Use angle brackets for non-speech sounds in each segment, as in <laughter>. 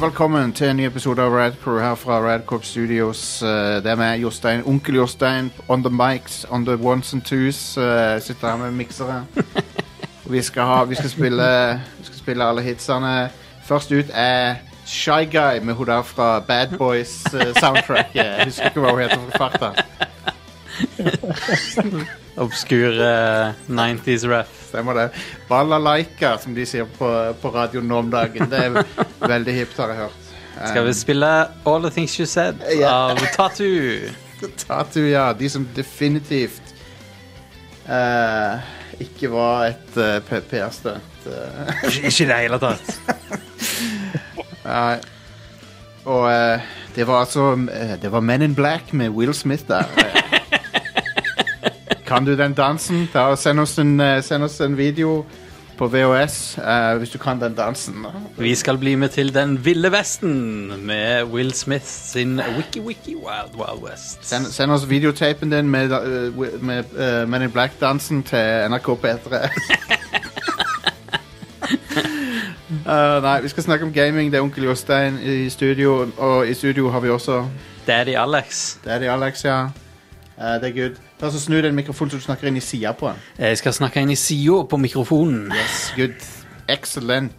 Velkommen til en ny episode av Radcrew her fra Radcorp Studios. Eh, Det er meg, Jostein. Onkel Jostein on the mics, on the ones and twos. eh, Sitter her med miksere. Og Vi skal, ha, vi, skal spille, vi skal spille alle hitsene. Først ut er Shy Guy med hun der fra Bad Boys-soundtracket. Jeg husker ikke hva hun heter for farta. Obskur eh, 90s ref. Stemmer det. Balalaika, som de sier på, på radioen nå om dagen. Det er veldig hipt, har jeg hørt. Skal vi spille All the Things You Said Ja. av Tattoo? Tatu, ja. De som definitivt eh, ikke var et eh, P- PR-stunt. eh. <laughs> Ikke i det hele tatt. Nei. og eh, det var altså eh, Det var Men in Black med Will Smith der. Eh, kan du den dansen? Ta og send, oss en, eh, send oss en video på VHS eh, hvis du kan den dansen. da. Vi skal bli med til Den ville vesten med Will Smith sin Wiki Wiki Wild Wild West. Send, send oss videotapen din med, eh, wi- med eh, Men in Black-dansen til NRK <laughs> P3. Eh, nei, vi skal snakke om gaming. Det er onkel Jostein i studio. Og i studio har vi også Daddy Alex. Daddy Alex, ja. Eh, det er good. Ta så Snu den mikrofonen så du snakker inn i sida på den. Jeg skal snakke inn i sida på mikrofonen. Yes, good. Excellent.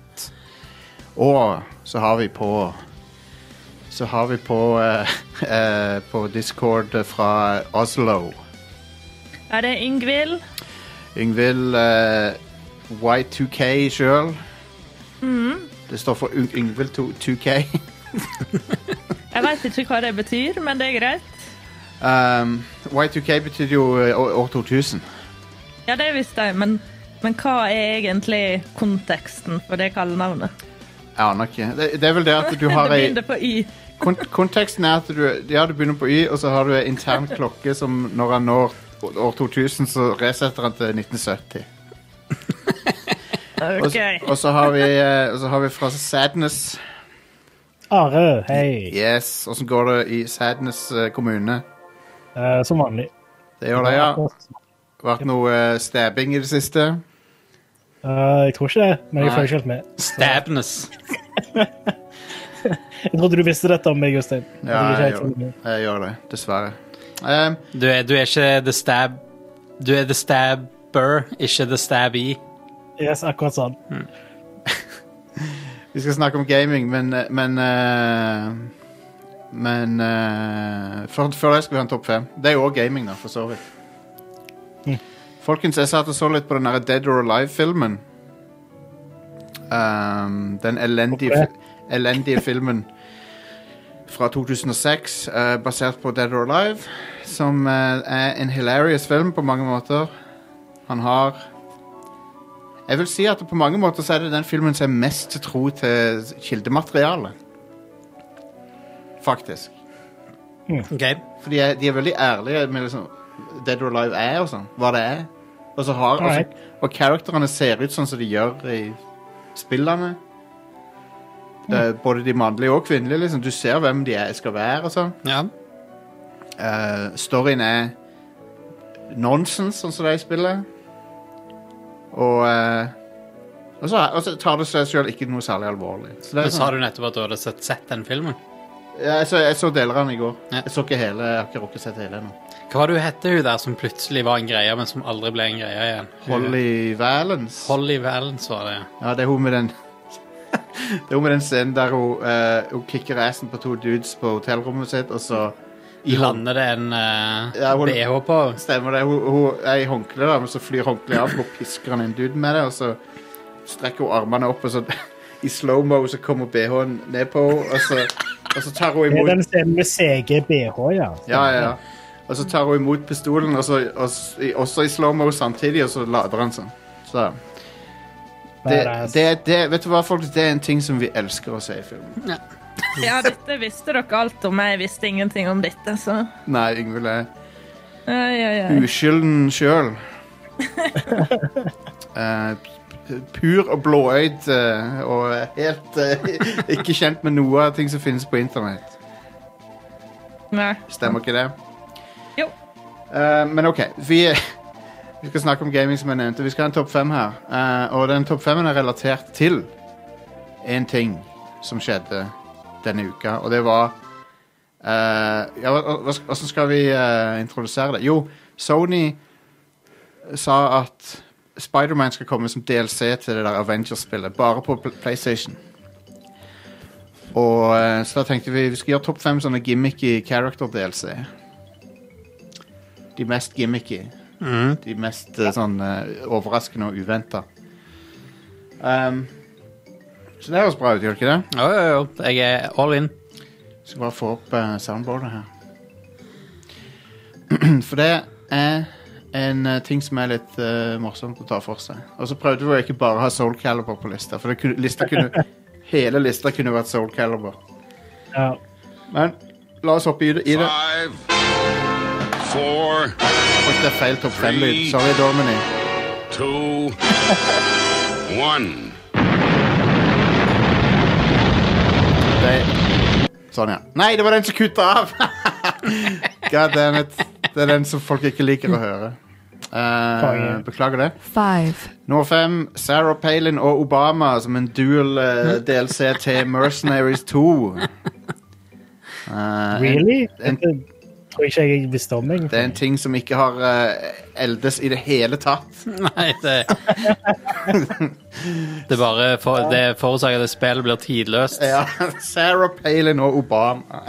Og så har vi på Så har vi på eh, eh, På Discord fra Oslo. Er det Ingvild? Yngvild eh, Y2K sjøl. Mm-hmm. Det står for Yng- Yngvild to- 2K. Jeg veit ikke hva det betyr, men det er greit. <laughs> Um, Y2K betydde jo eh, år år 2000. Ja, det visste jeg, men, men hva er egentlig konteksten for det kallenavnet? Jeg aner ikke. Det, det er vel det at du <laughs> Det har ei begynner på Y. kont Konteksten er at du, ja, du begynner på Y, og så har du ei intern klokke som når han når å- år 2000, så resetter han til 1970. Og, OK. så- og, så har vi, eh, og så har vi fra Sadness. Are, hei. Yes, Åssen går det i Sadness eh, kommune? Eh, som vanlig. Det gjør det, ja. Vært noe eh, stabbing i det siste? Eh, jeg tror ikke det, men jeg Nei. følger ikke helt med. Stabness. Jeg trodde du visste dette om meg, Jostein. Ja, Jeg er jeg ikke helt gjør, med. jeg gjør det. Dessverre. Ehm, Du er, du er ikke The Stab... Du er The Stabber, ikke The Stabby. Yes, akkurat sånn. Mm. vi skal snakke om gaming, men eh, Men, eh, men eh, før, før det skal vi ha en topp fem. Det er jo òg gaming, da, for så vidt. Mm. Folkens, jeg satt og så litt på den der Dead or Alive-filmen. Ehm, den elendige, Hvorfor det? fi- elendige filmen fra 2006, eh, basert på Dead or Alive, som eh, er en hilarious film på mange måter. Han har Jeg vil si at på mange måter så er det den filmen som er mest tro til kildematerialet. Faktisk. Okay. For de er, de er veldig ærlige med liksom Dead or Alive er og sånn. Hva det er. Og så har Alright. altså, Og karakterene ser ut sånn som de gjør i spillene. Eh, både de mannlige og kvinnelige. liksom Du ser hvem de er, skal være og sånn. Ja. Eh, storyen er nonsens, sånn som det er i spillet. Og eh, og så, og så tar det seg sjøl ikke noe særlig alvorlig. Så det er Men sånn- sa du nettopp at du hadde sett, sett den filmen? Ja, jeg, så, jeg så deler av den i går. Ja. Jeg så ikke hele, jeg har ikke rukket å sett hele ennå. Hva var det hun hette hun der som plutselig var en greie, men som aldri ble en greie igjen? Holly Valence. Holly Valence var det, ja. Ja, det er hun med den <laughs> Det er hun med den scenen der hun, eh, hun kicker assen på to dudes på hotellrommet sitt, og så i hånd- Lander det en eh, Ja, hun- BH på? Stemmer det. Hun, hun er i håndkle, da, men så flyr håndkleet av, og pisker han en dude med det, og så strekker hun armene opp, og så <laughs> i slow-mo så kommer BH-en ned på henne, og så, og så tar hun Det er den imot scenen med CG BH, ja. Ja, ja, ja. Og så tar hun imot pistolen, og så, og, s- i- også i slow-mo samtidig, og så lader han sånn. Så det, Sånn Badass. det, det, vet du hva, folkens? Det er en ting som vi elsker å se i film. Ja, dette visste dere alt om. Jeg visste ingenting om dette, så Nei, Yngvild er Ai, ai, ai. uskylden sjøl. Eh, p- pur og blåøyd eh, og helt eh, <laughs> ikke kjent med noe av ting som finnes på internett. Nei. Stemmer ikke det? Jo. Eh, men OK. Vi, vi skal snakke om gaming, som jeg nevnte. Vi skal ha en topp fem her. Eh, og den topp femmen er relatert til en ting som skjedde denne uka, og det var eh, Ja, hva- hva- hva- hvordan skal vi eh, introdusere det? Jo, Sony sa at Spiderman skal komme som DLC til det der Avengers-spillet, bare på Pl- PlayStation. Og eh, Så da tenkte vi vi skal gjøre topp fem sånne gimmicky character-DLC. De mest gimmicky. De mest eh, sånn eh, overraskende og uventa. Um, så det høres bra ut, gjør det ikke det? Jo, jo, jo. Jeg er all in. <laughs> Skal bare få opp eh, soundboardet her. <clears throat> For det er en eh, ting som er litt eh, morsomt å ta for seg. Og så prøvde vi å ikke bare ha Soul Calibur på lista, for det kunne, lista kunne, hele lista kunne vært Soul Calibur. Ja. Men la oss hoppe i det. I det. Five, four, Brukte feil topp fem-lyd. Sorry, Domini. two, <laughs> one. Det... Sånn, ja. Nei, det var den som kutta av! <laughs> God damn it. Det er den som folk ikke liker å høre. Eh, Konge. beklager det. Five. Nummer fem, Sarah Palin og Obama som en dual eh, DLC til Mercenaries 2. Eh, en, Really? en- Det tror jeg ikke jeg visste om, egentlig. det er en ting som ikke har eh, eldes i det hele tatt. Nei, det <laughs> Det er bare for, det forårsaker at spillet blir tidløst. Ja, <laughs> Sarah Palin og Obama.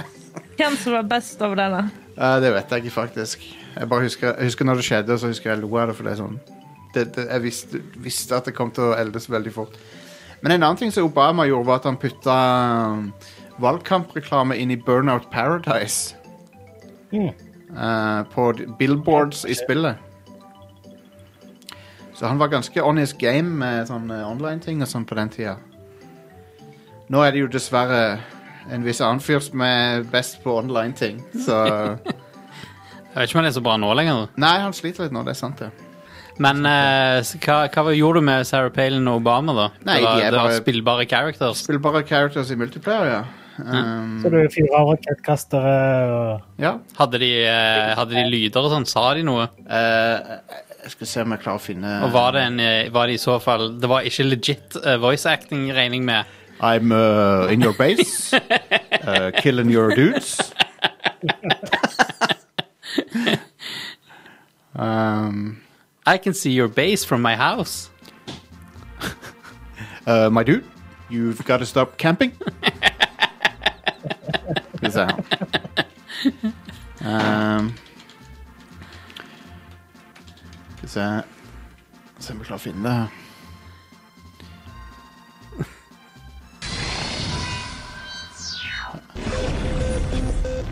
Hvem som var best over denne? Eh, det vet jeg ikke, faktisk. Jeg bare husker, jeg husker når det skjedde, så husker jeg lo av det. For det er sånn det, det, Jeg visste, visste at det kom til å eldes veldig fort. Men en annen ting som Obama gjorde, var at han putta um, valgkampreklame inn i Burnout Paradise. Mm. eh, på d- billboards i spillet. Så han var ganske on his game med sånn eh, online-ting og sånn på den tida. Nå er det jo dessverre en viss annen fyr som er best på online-ting, så Jeg vet ikke om det er så bra nå lenger. Nei, han sliter litt nå, det er sant, det. Men eh, så hva, hva gjorde du med Sarah Palin og Obama, da? Nei, det var, de er det var bare- spillbare characters. Spiller bare characters i multiplayer, ja. Um, Så du fyrer rakettkastere og ja. Hadde de, eh, hadde de lyder og sånn? Sa de noe? Eh, jeg skal se om jeg klarer å finne Og var det, en, eh, var det i så fall Det var ikke legit eh, voice acting, regning med. I'm uh, in your base, uh, killing your dudes. <laughs> um, I can see your base from my house. uh, my dude, you've got to stop camping. <laughs> Skal vi se her. Um, Skal vi se Se om vi klarer å finne det her.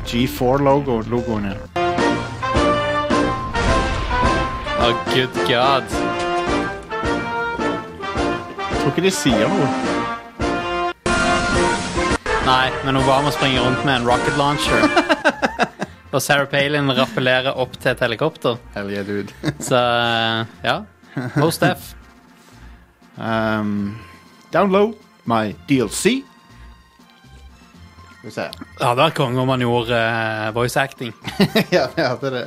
G4-logoen, logoen, ja. Oh, good god. Jeg tror ikke de sier noe. Nei, men Obama springer rundt med en rocket launcher. <laughs> og Sarah Palin rappellerer opp til et helikopter. Hell yeah, dude. Så ja. Most F. um, download my DLC. Skal vi se. Det hadde vært konge om han gjorde eh, voice acting. ja, vi hadde det.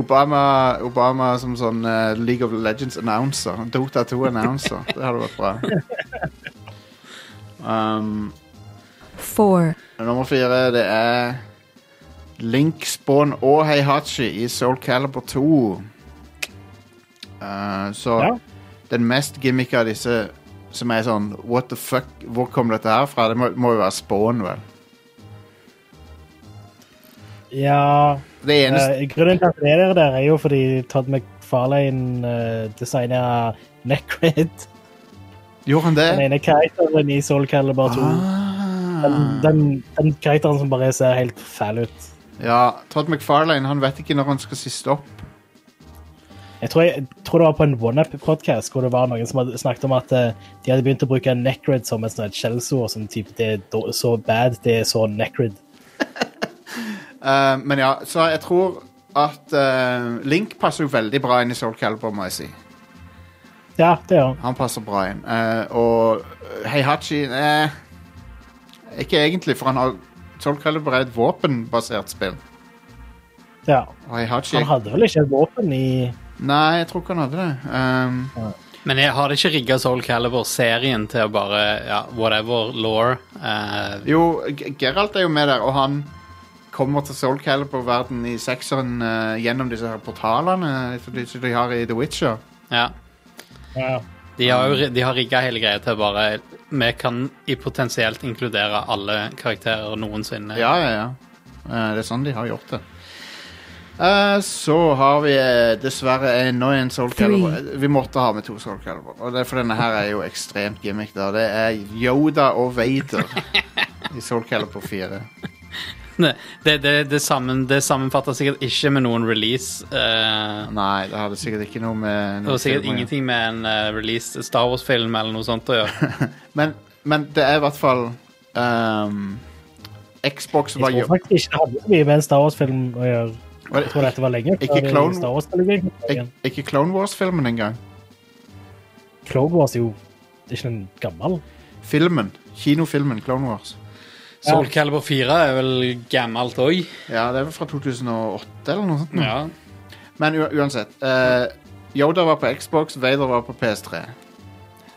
Obama, Obama som sånn eh, League of Legends-announcer. Dota 2-announcer. Det hadde vært bra. Um, Four. nummer fire, det er Link, Spawn og Heihachi i Soul Calibur 2. Eh, så Ja. den mest gimmicka av disse som er sånn What the fuck? Hvor kom dette her fra? Det må, må jo være Spawn, vel. Ja Det eneste eh, Grunnen til at det er der, der, er jo fordi Todd McFarlane uh, designa Necrid. Gjorde han Den det? ene karakteren i Soul Calibur 2. Den, Ah. den, den karakteren som bare ser helt fæl ut. Ja, Todd McFarlane han vet ikke når han skal si stopp. Jeg tror, jeg, jeg tror det var på en OneUp-podkast hvor det var noen som hadde snakket om at eh, de hadde begynt å bruke Necrid som et sånt skjellsord. Som typ, det er då- så bad, det er så Necrid. Eh, men ja, så jeg tror at eh, Link passer jo veldig bra inn i Soul Calibur, må jeg si. Ja, det gjør han. Han passer bra inn. Eh, og Heihachi eh, Ikke egentlig, for han har Soul Calibur er et våpenbasert spill. Ja. Og Heihachi Han hadde vel ikke et våpen i Nei, jeg tror ikke han hadde det. Um, Men jeg har ikke rigga Soul Calibur-serien til å bare ja, whatever law. eh, Jo, G- Geralt er jo med der, og han kommer til Soul Calibur-verden i sekseren eh, gjennom disse her portalene eh, som de, som de har i The Witcher. ja. Ja. De har, jo, ri- de har rigga hele greia til bare Vi kan i potensielt inkludere alle karakterer noensinne. Ja, ja, ja. Eh, det er sånn de har gjort det. Eh, så har vi eh, dessverre enda en Soul Calibur. Eh, Vi måtte ha med to Soul Calibur. Og det, er for denne her er jo ekstremt gimmick. da Det er Yoda og Vader i Soul Calibur 4. Det, det, det, det, sammen, det sammenfatter sikkert ikke med noen release. eh, Nei, det hadde sikkert ikke noe med det noe har sikkert film å gjøre. ingenting med en eh, released Star Wars-film eller noe sånt å <laughs> gjøre. Men, men det er i hvert fall ehm, Xbox var Jeg jo tror faktisk ikke det hadde så mye med en Star Wars-film å gjøre. var Jeg tror det, dette var lenge Ikke før Clone- Star Wars-filmen. ik, Ikke Clone Wars-filmen engang. Clone Wars er jo ikke en gammel. Filmen. Kinofilmen Clone Wars. Soul Calibur 4 er vel gammelt òg. Ja, det er vel fra 2008 eller noe sånt. nå. Ja. Men u uansett. eh, Yoda var på Xbox, Vader var på PS3.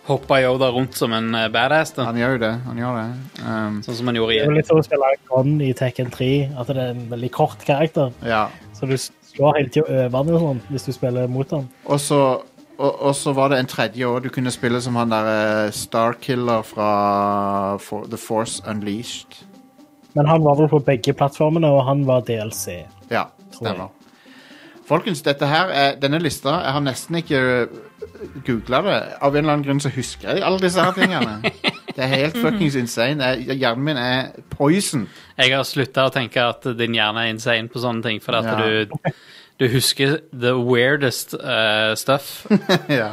Hoppa Yoda rundt som en eh, badass, da. Han gjør jo det. han gjør det Ehm, sånn som han gjorde Det er i vel litt som å spille Gon i Tekken 3, at det er en veldig kort karakter. Ja. Så du slår hele tida over han og sånn, hvis du spiller mot han. Og så og, og så var det en tredje år du kunne spille som han derre Starkiller fra For The Force Unleashed. Men han var vel på begge plattformene, og han var DLC. Ja, Tror stemmer. Folkens, dette her er, denne lista Jeg har nesten ikke googla det. Av en eller annen grunn så husker jeg alle disse her tingene. Det er helt fuckings insane. Jeg, hjernen min er poison. Jeg har slutta å tenke at din hjerne er insane på sånne ting, fordi at Ja. du, du husker the weirdest eh, stuff. <laughs> ja,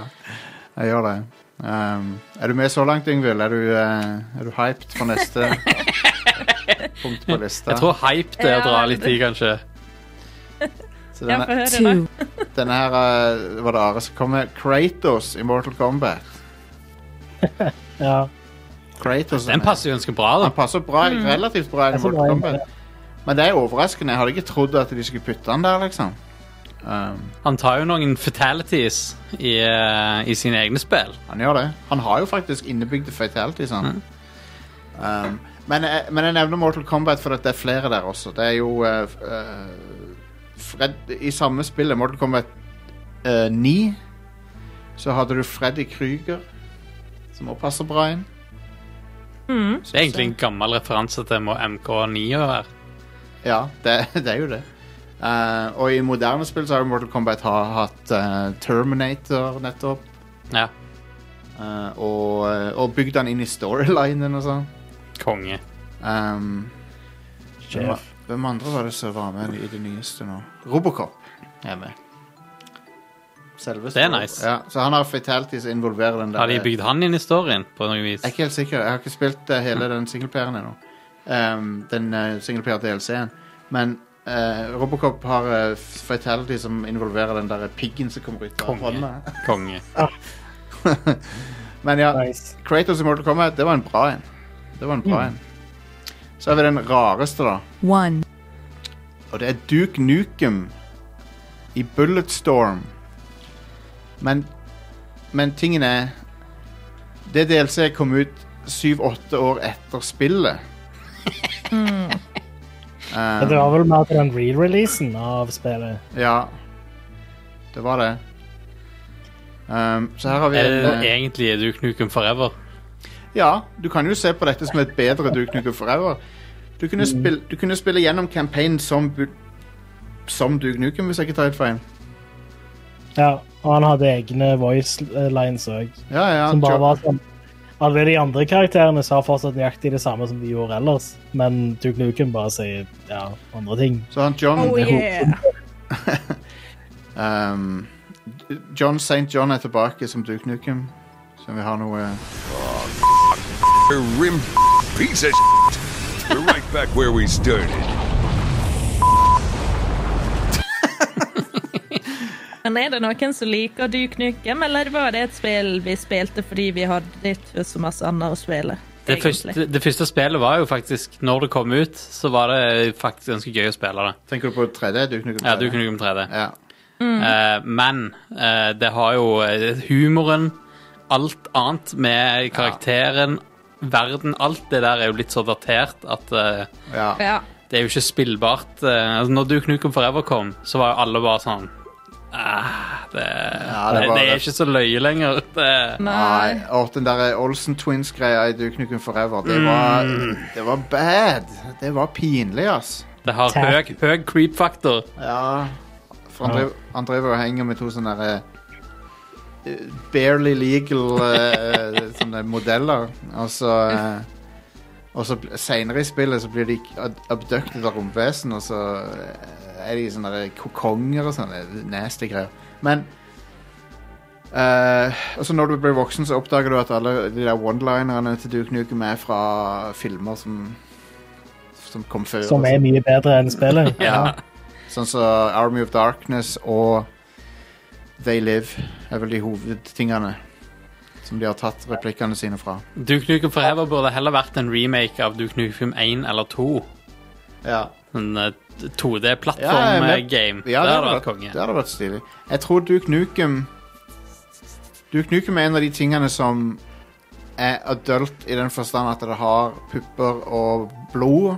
jeg gjør det. Um, er du med så langt, Yngvild? Er, du, eh, er du hyped for neste punkt på lista? Jeg tror hype det er å dra Ja, litt i, kanskje. Så Ja, denne, få høre, da. two, denne her eh, var det Are som kom med. Kratos i Mortal Kombat. Ja. Kratos er Den med. passer jo ganske bra, da. Han passer bra, relativt bra inn i Passer Mortal bra inn, Kombat. Men det er overraskende. Jeg hadde ikke trodd at de skulle putte han der, liksom. Um, Han tar jo noen fatalities i, eh, i sine egne spill. han gjør det. Han har jo faktisk innebygde fatalities, han. Um, men, jeg, men jeg nevner Mortal Kombat fordi det er flere der også. Det er jo eh, f- eh, Fred, I samme spillet, Mortal Kombat eh, 9, så hadde du Freddy Krüger, som også passer bra inn. Det er egentlig en gammel referanse til må- MK9 å være. Ja, det, <laughs> det er jo det. Eh, og i moderne spill så har jo Mortal Kombat ha, hatt eh, Terminator nettopp. Ja, eh, og, og bygd han inn i storylinen og sånn. konge. Um, hvem, Sjef. hvem andre var det som var med i det nyeste nå? Robocop er med. Selveste Det er Robo- nice. Ja, så han har fatalities involverer den der. Har de bygd han inn i storyen på noe vis? Jeg er ikke helt sikker. Jeg har ikke spilt eh, hele den singleplayeren ennå. Um, den uh, singleplayer-DLC-en. Men eh, Robocop har eh, fatality som involverer den der piggen som kommer ut av Konge. hånda. Konge. <laughs> Men ja, Nice. Kratos i Mortal Kombat, det var en bra en. Det var en Mm. bra en. Så har vi den rareste, da. one, Og det er Duke Nukem i Bulletstorm. Men, men tingen er Det DLC kom ut syv-åtte år etter spillet. Eh, Men det var vel mer til den re-releasen av spillet. Ja. Det var det. Um, så her har vi Er det en, eh, egentlig Duke Nukem Forever? Ja, du kan jo se på dette som et bedre Duke Nukem Forever. Du kunne, Mm. spille, du kunne spille gjennom campaignen som, Bu- som Duke Nukem, hvis jeg ikke tar helt feil. Ja, og han hadde egne voice lines òg, Ja, ja, som bare Jo- var sånn Alle de andre karakterene sa fortsatt nøyaktig det samme som de gjorde ellers, men Duke Nukem bare sier ja, andre ting. Så han John Oh yeah! um, John St. John er tilbake som Duke Nukem. Så vi har noe Your rim piece of shit. We're right back where we started. Men er det noen som liker Duke Nukem, eller var det et spill vi spilte fordi vi hadde ikke så masse annet å spille? Det egentlig? første, det første spillet var jo faktisk Når det kom ut, så var det faktisk ganske gøy å spille det. Tenker du på 3D? Duke Nukem 3D? Ja, Duke Nukem 3D. Ja. Eh, men eh, det har jo eh, humoren alt annet med karakteren, verden, alt det der er jo litt så datert at eh, Ja. Ja. det er jo ikke spillbart. Eh, altså, når du Knuken Forever kom, så var jo alle bare sånn ah, det, Ja, det det, var det er det. ikke så løye lenger. <laughs> Det, Nei. Nei. Og den der Olsen Twins-greia i Duke Nukem Forever, det var, det var bad. Det var pinlig, ass. det har høy, Takk. høy creep-faktor. Ja. For han, driver, han driver og henger med to sånne der, eh, barely legal eh, sånne modeller, og så eh, Og så bl- senere i spillet så blir de ab- abducted av romvesen, og så eh, er de sånne der kokonger og sånne nasty greier. Men eh, Og så når du blir voksen, så oppdager du at alle de der one-linerne til Duke Nukem er fra filmer som som kom før. Som er mye bedre enn spillet. Ja. Sånn som Army of Darkness og They Live er vel de hovedtingene som de har tatt replikkene sine fra. Duke Nukem Forever burde heller vært en remake av Duke Nukem 1 eller 2. Ja, En eh, Ja, men- 2D-plattform-game. ja eh, det det, hadde hadde vært vært, konge. det hadde vært stilig. Jeg tror Duke Nukem Duke Nukem er en av de tingene som er adult i den forstand at det har pupper og blod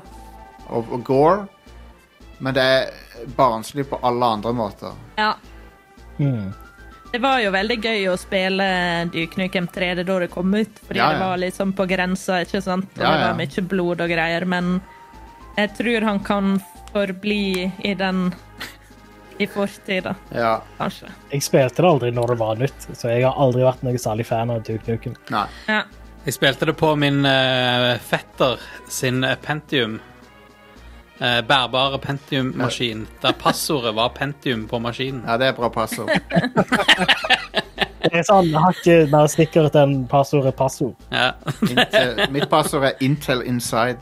og, og gore, men det er barnslig på alle andre måter. ja. Mm. Det var jo veldig gøy å spille Duke Nukem 3D da det kom ut, fordi Ja, ja. det var liksom på grensa, ikke sant? Og Ja, det ja. var mye blod og greier, men jeg tror han kan forbli i den i fortida, Ja, kanskje. Jeg spilte det aldri når det var nytt, så jeg har aldri vært noen særlig fan av Duke Nukem. nei. Ja. Jeg spilte det på min eh, fetter sin eh, Pentium. Eh, bærbare Pentium-maskin. Der passordet var Pentium på maskinen. Ja, det er bra <laughs> passord. Det er sånn, jeg har ikke mer sikkert enn passordet passord. Ja. Intel, mitt passord er Intel Inside.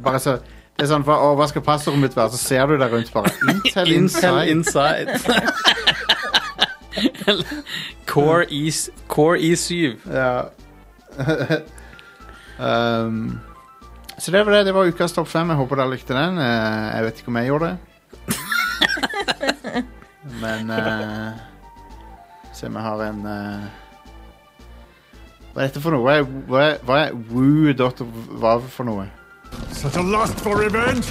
also, Det er Bare så, det er sånn, hva, å, hva skal passordet mitt være? Så ser du deg rundt bare. Intel Intel Inside. Inside. <laughs> Core, e, Core E7. <laughs> Ja. um, så det var det. Det var ukas topp fem. Jeg håper dere likte den. Eh, jeg vet ikke om jeg gjorde det. Men eh, Se om jeg har en eh, Hva er dette for noe? Hva er, hva er, hva er woo.hva for noe? Such a lust for revenge!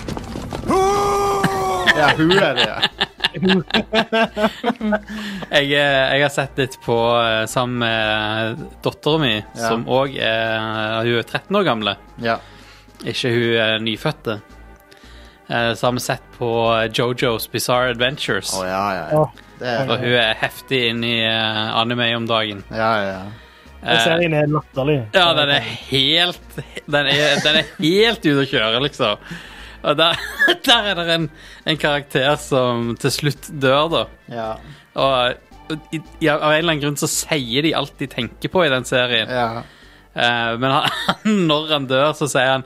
Ja, who er det, ja. Jeg, eh, jeg har sett litt på eh, sammen med dattera mi, Ja. som òg er eh, Hun er 13 år gamle. ja. Ikke hun eh, nyfødte. Eh, Så har vi sett på eh, Jojo's Bizarre Adventures. Å Oh, ja, ja. ja. Åh, Det er, Og hun er heftig inn i eh, anime om dagen. ja, ja. den Eh, serien er latterlig. ja, den er helt Den er, den er helt ute å kjøre, liksom. Og der, <laughs> der er det en, en karakter som til slutt dør, da. Ja, Og i, i, av en eller annen grunn så sier de alt de tenker på i den serien. ja. Eh, men han, <laughs> når han dør, så sier han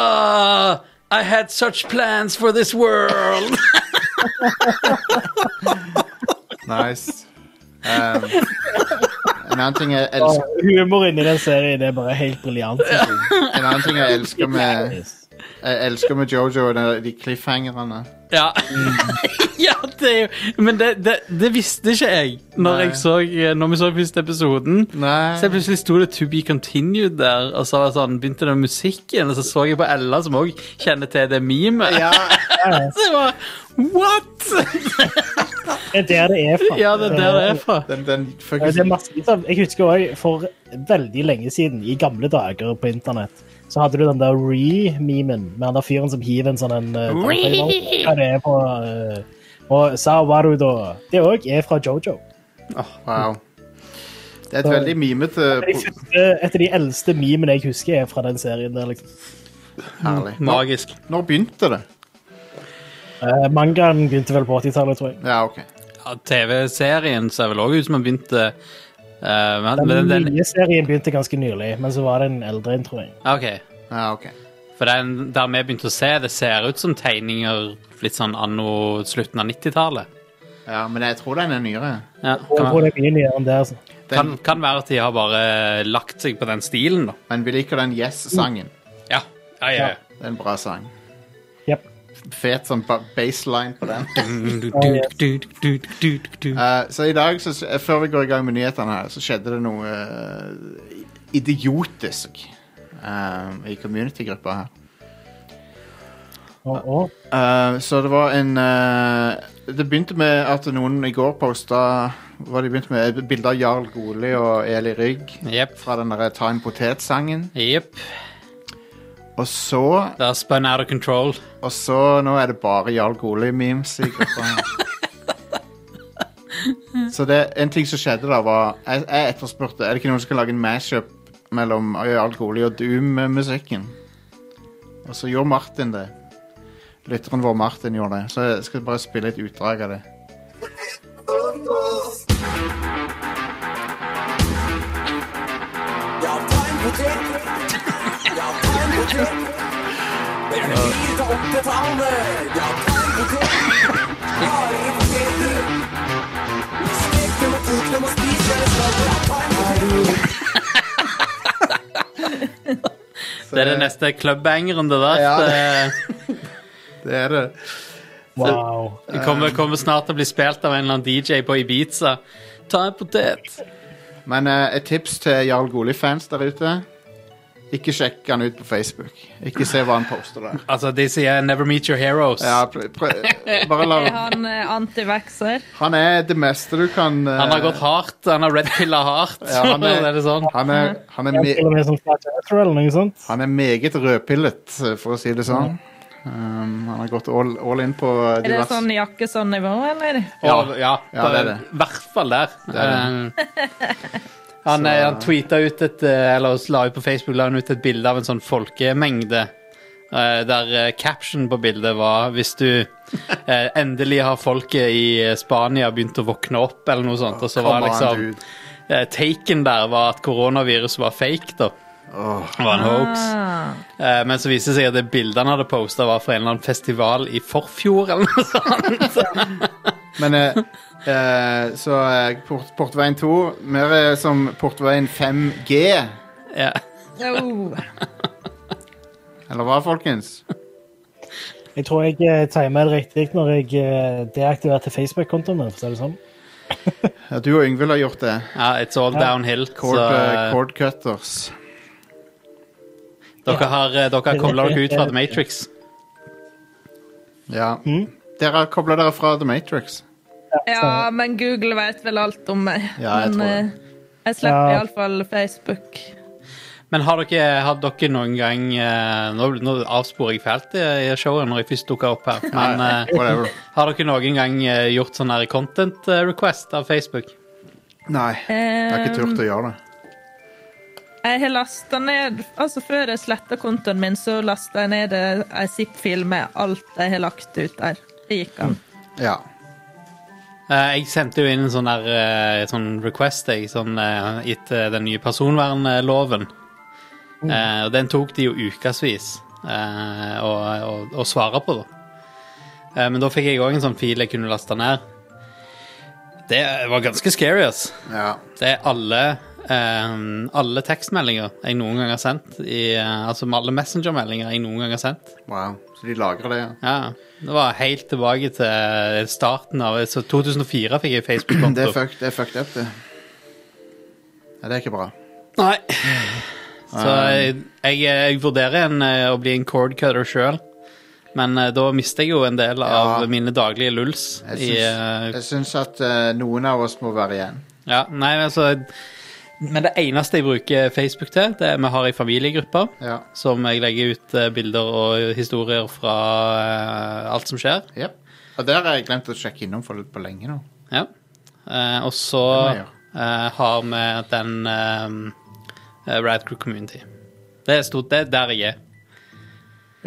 «Ah, I had such plans for this world! Nice. Um, en annen ting jeg elsker Åh, Humoren i den serien er bare helt briljant. synes jeg. En annen ting jeg elsker med Jeg elsker med Jojo er den- de cliffhangerne. Ja, <laughs> ja det er jo Men det, det, det visste ikke jeg når, Nei. jeg så, eh, når vi så første episoden. Nei. Så jeg plutselig sto det 'To be continued' der, og så var det sånn, begynte den musikken. Og så så jeg på Ella, som òg kjenner til det memet. Ja, <laughs> Så jeg var What?! <laughs> Det er der det er fra. Ja, det er der det er fra. den, den Ja, Det er fuckings masse, som- jeg husker også for veldig lenge siden, i gamle dager på internett, så hadde du den der re-memen med han der fyren som hiver en sånn en eh, Ja, det er på eh, Og Sawaru, da. Det òg er fra Jojo. Wow. Det er et veldig mimete De første, eh, et av de eldste memene jeg husker, er fra den serien. der liksom. Herlig. Når, Magisk. når begynte det? Eh, Mangaen begynte vel på 80-tallet, tror jeg. Ja, OK. Ja, TV-serien ser vel òg ut som den begynte eh, men, men Den den, nye serien begynte ganske nylig, men så var det en eldre en, tror jeg. OK. Ja, ok. For den, der vi begynte å se, det ser ut som tegninger litt sånn anno slutten av 90-tallet. Ja, men jeg tror den er nyere. Ja, Og kan, på være- den nye nyeren der, altså. kan, Den, kan være at de har bare eh, lagt seg på den stilen, da. men vi liker den Yes-sangen. Ja. ja, ja. Det er en bra sang. Jep. fet sånn ba- baseline på den. Eh, Hva Eh, så i dag, så, eh, før vi går i gang med nyhetene her, så skjedde det noe eh, idiotisk eh, i community-gruppa her. Og, og, Eh, så det var en eh, Det begynte med at noen i går posta Hva de begynte med? Bilder av Jarl Goli og Eli Rygg Jepp. fra den derre Ta en potet-sangen. Jepp. Og så Det har spun out of control. Og så nå er det bare Jarl Goli-memes i gruppa. så det, en ting som skjedde da, var Jeg, jeg etterspurte Er det ikke noen som kan lage en mashup mellom Jarl Goli og Doom-musikken? Og så gjorde Martin det. Lytteren vår Martin gjorde det. Så jeg skal bare spille et utdrag av det. Det er den neste clubbangeren, det der. Ja, <laughs> det... Det er det. wow. det kommer, kommer snart til å bli spilt av en eller annen DJ på Ibiza. Ta en potet. Men eh, et tips til Jarl Goli-fans der ute. Ikke sjekk han ut på Facebook. Ikke se hva han poster <laughs> der. Altså, de sier 'never meet your heroes'. Ja, pr pr bare <laughs> la Er han eh, antivaxer? Han er det meste du kan eh, Han har gått hardt. Han har red-pilla hardt. Ja, han er- <laughs> er det sånn. Han er, han er, Jeg me er til og med sånn flat earther eller noe sånt. han er meget rødpillet, eh, for å si det sånn. Um, han har gått all, all in på eh, Er det diverse sånn jakke sånn nivå, eller? Ja, Ja. ja, Ja, det er det. I hvert fall der. er Eh, <laughs> Han, eh, han tweeta ut et eh, Eller la ut på Facebook la han ut et bilde av en sånn folkemengde. eh, Der eh, caption på bildet var 'Hvis du eh, endelig har folket i eh, Spania begynt å våkne opp', eller noe sånt. Og så Come var on, liksom dude. eh, Taken der var at koronavirus var fake, da. Det var en hoax. Ah. Eh, Men så viste det seg at det bildet han hadde posta, var fra en eller annen festival i forfjor. eller noe <laughs> sånt. Men <laughs> eh, eh, så eh, port, Portveien 2 Mer eh, som Portveien 5G. Ja. Oh. Eller hva, folkens? Jeg tror jeg eh, timer det riktig når jeg eh, deaktiverte Facebook-kontoen min. for å si det sånn. Ja, du og Yngvild har gjort det. ja, It's all downhill. Cord, så eh, cord cutters. dere har, eh, dere har kobla dere ut fra The Matrix. Ja. Dere har kobla dere fra The Matrix. Ja, men Google vet vel alt om meg. Ja, jeg men tror det. eh, jeg slipper Ja. iallfall Facebook. Men har dere, har dere noen gang eh, Nå, nå avsporer jeg fælt i i showet når jeg først dukker opp her, men eh, Whatever. har dere noen gang eh, gjort sånn her content eh, request av Facebook? Nei, jeg har ikke Eh, turt å gjøre det. Jeg har lasta ned Altså, før jeg sletta kontoen min, så lasta jeg ned eh, ei zip-fil med alt jeg har lagt ut der. Det gikk an. Ja. Eh, jeg sendte jo inn en sånn, der, eh, sånn request jeg, sånn, eh, etter den nye personvernloven. Eh, og den tok de jo ukevis eh, å, å, å svare på, da. Eh, men da fikk jeg òg en sånn fil jeg kunne laste ned. Det var ganske scary, ass. ja. Det er alle, eh, alle tekstmeldinger jeg noen gang har sendt. I, eh, altså alle messengermeldinger jeg noen gang har sendt. Wow. Så de lagrer det, ja. Ja, Det var helt tilbake til starten av Så 2004 fikk jeg <clears throat> Facebook-konto. Det er fucked, det er fucked up, det. Ja, det er ikke bra. Nei. Så jeg, jeg, jeg vurderer en, eh, å bli en cord cutter sjøl. Men eh, da mister jeg jo en del av Ja. mine daglige lulls. Jeg I, syns, eh, jeg syns at eh, noen av oss må være igjen. ja, nei, men altså Men det eneste jeg bruker Facebook til, det er vi har ei familiegruppe Ja. som jeg legger ut eh, bilder og historier fra eh, alt som skjer. Jep. Og der har jeg glemt å sjekke innom for, på lenge nå. Ja. Eh, og så Det må jeg eh, har vi den eh, Radcrew Community. Det er stort, det er der jeg er.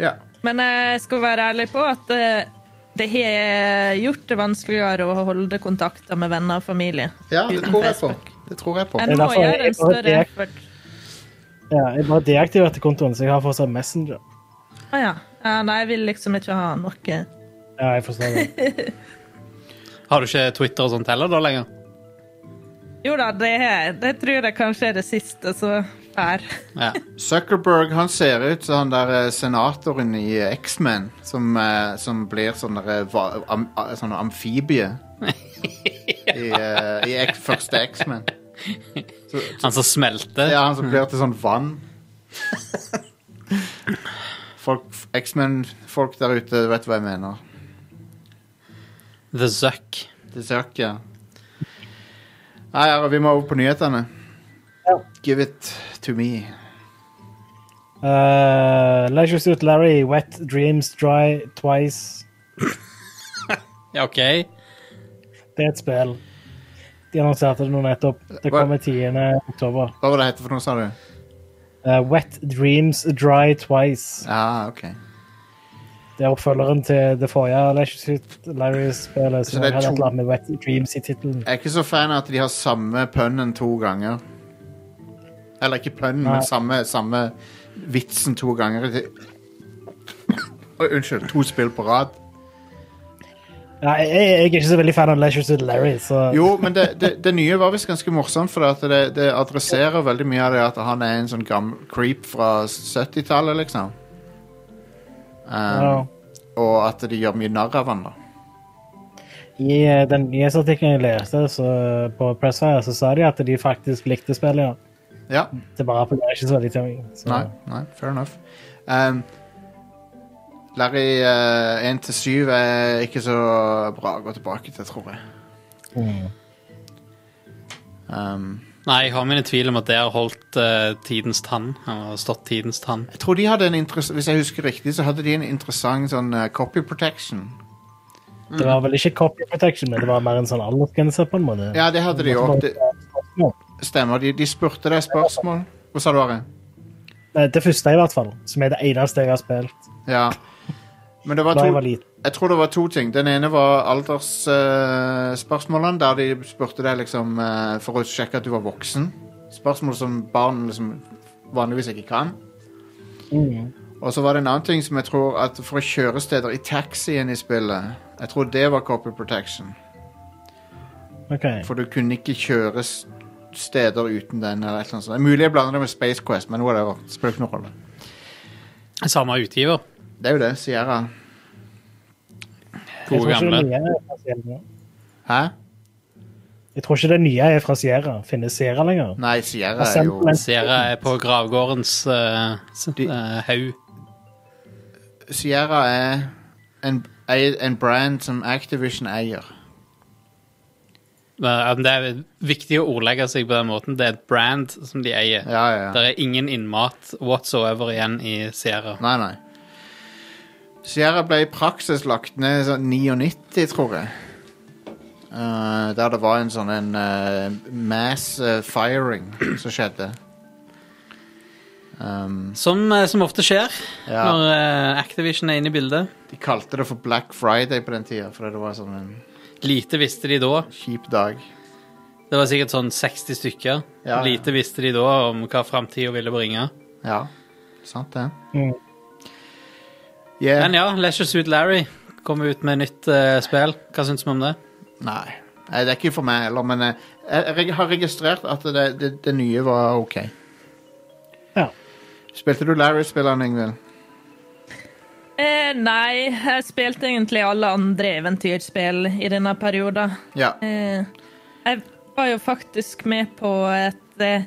Ja. Men jeg skal være ærlig på at eh, det har gjort det vanskeligere å holde kontakter med venner og familie. ja, det Uten tror jeg på. Facebook. Det tror jeg på. En er må derfor jeg- gjøre en jeg bare større direkt- effort. Ja, jeg bare deaktiverte kontoen, så jeg har fortsatt Messenger. Å ja. ja. Nei, jeg vil liksom ikke ha noe Ja, jeg forstår det. Har du ikke Twitter og sånt heller da lenger? Jo da, det, er- det tror jeg kanskje er det siste, så her. Ja. Zuckerberg han ser ut som han der eh, senatoren i eh, X-Men som, eh, som blir sånn der, eh, va- am, a- sånn amfibie <laughs> i, eh, i X, første X-Men. Han som smelter. Ja, han som blir til sånn vann. Folk, X-Men-folk der ute vet hva jeg mener. The Zuck. Det ser ikke Nei, ja, vi må over på nyhetene. Ja. Give it to me. Eh, Leisure Suit Larry, Wet Dreams Dry Twice. Ja, OK. Det er et spill. De annonserte det nå nettopp. Det Hva- kommer 10. oktober. Hva var det hette for noe, sa du? Eh, Wet Dreams Dry Twice. Ah, ok. Det er oppfølgeren til det forrige Leisure Suit Larry-spillet. Så Som det er hadde et to- eller annet med Wet Dreams i tittelen. Jeg er ikke så fan av at de har samme pønnen to ganger. Eller ikke pønnen, Nei. men samme, samme vitsen to ganger. Det- Oi, unnskyld. To spill på rad. Ja, jeg, jeg er ikke så veldig fan av Leisure Suit Larry, så <laughs> Jo, men det, det, det nye var visst ganske morsomt, for at det, det adresserer veldig mye av det at han er en sånn gammel creep fra 70-tallet, liksom. Um, Ja. Og at de gjør mye narr av han, da. I eh, den nyhetsartikkelen jeg leste så, på Pressfire, så sa de at de faktisk likte spillet. Ja. Ja. Det bare appellerer ikke så veldig til meg. Så. Nei, nei, fair enough. Um, Larry eh, 1-7 er ikke så bra å gå tilbake til, tror jeg. Mm. Um, Nei, jeg har mine tvil om at det har holdt eh, tidens tann. Han har stått tidens tann. jeg tror de hadde en interess- Hvis jeg husker riktig, så hadde de en interessant sånn eh, copy protection. Det var vel ikke copy protection, men det var mer en sånn aldersgrense på en måte. Ja, det hadde de òg. Det Ja. stemmer. De, de spurte deg spørsmål. Hva sa du, Are? Eh, Det første, i hvert fall, som er det eneste jeg har spilt Ja. Men det var da to jeg var liten. Jeg tror det var to ting. Den ene var aldersspørsmålene, der de spurte deg liksom eh, for å sjekke at du var voksen. Spørsmål som barn liksom vanligvis ikke kan. Og så var det en annen ting som jeg tror at for kjøresteder i taxien i spillet Jeg tror det var copy protection. Ok. For du kunne ikke kjøre s- steder uten den. eller et eller annet sånt. Det er Mulig jeg blander det med Space Quest, men whatever. Det Spiller ikke noen rolle. Samme utgiver. Det er jo det. Sierra. Jeg Gode tror ikke det gamle. nye er fra Sierra. Hæ? Jeg tror ikke det nye er fra Sierra. Finnes Sierra lenger? Nei, Sierra er jo Assembler. Sierra er på gravgårdens eh, s- De- eh, haug. Sierra er en, er en brand som Activision eier. Men Det er viktig å ordlegge seg på den måten. Det er et brand som de eier. Ja, ja, ja. Det er ingen innmat whatsoever igjen i Sierra. Nei, nei. Sierra ble i praksis lagt ned sånn 99, tror jeg. Eh, der det var en sånn en eh, mass eh, firing som skjedde. Um, Som, eh, som ofte skjer Ja. når eh, Activision er inne i bildet. de kalte det for Black Friday på den tida, fordi det var sånn en Lite visste de da. kjip dag. Det var sikkert sånn 60 stykker. Ja, ja. Lite visste de da om hva framtida ville bringe. Ja, sant det. Mm. Yeah. Men ja, Leisure Suit Larry kom ut med nytt eh, spill. Hva syns vi om det? Nei. Nei, det er ikke for meg heller, men eh, jeg, jeg har registrert at det, det, det nye var OK. Ja. Spilte du Larry-spilleren, Ingvild? Eh, nei, jeg spilte egentlig alle andre eventyrspill i denne perioden. Ja. Eh, jeg var jo faktisk med på et eh,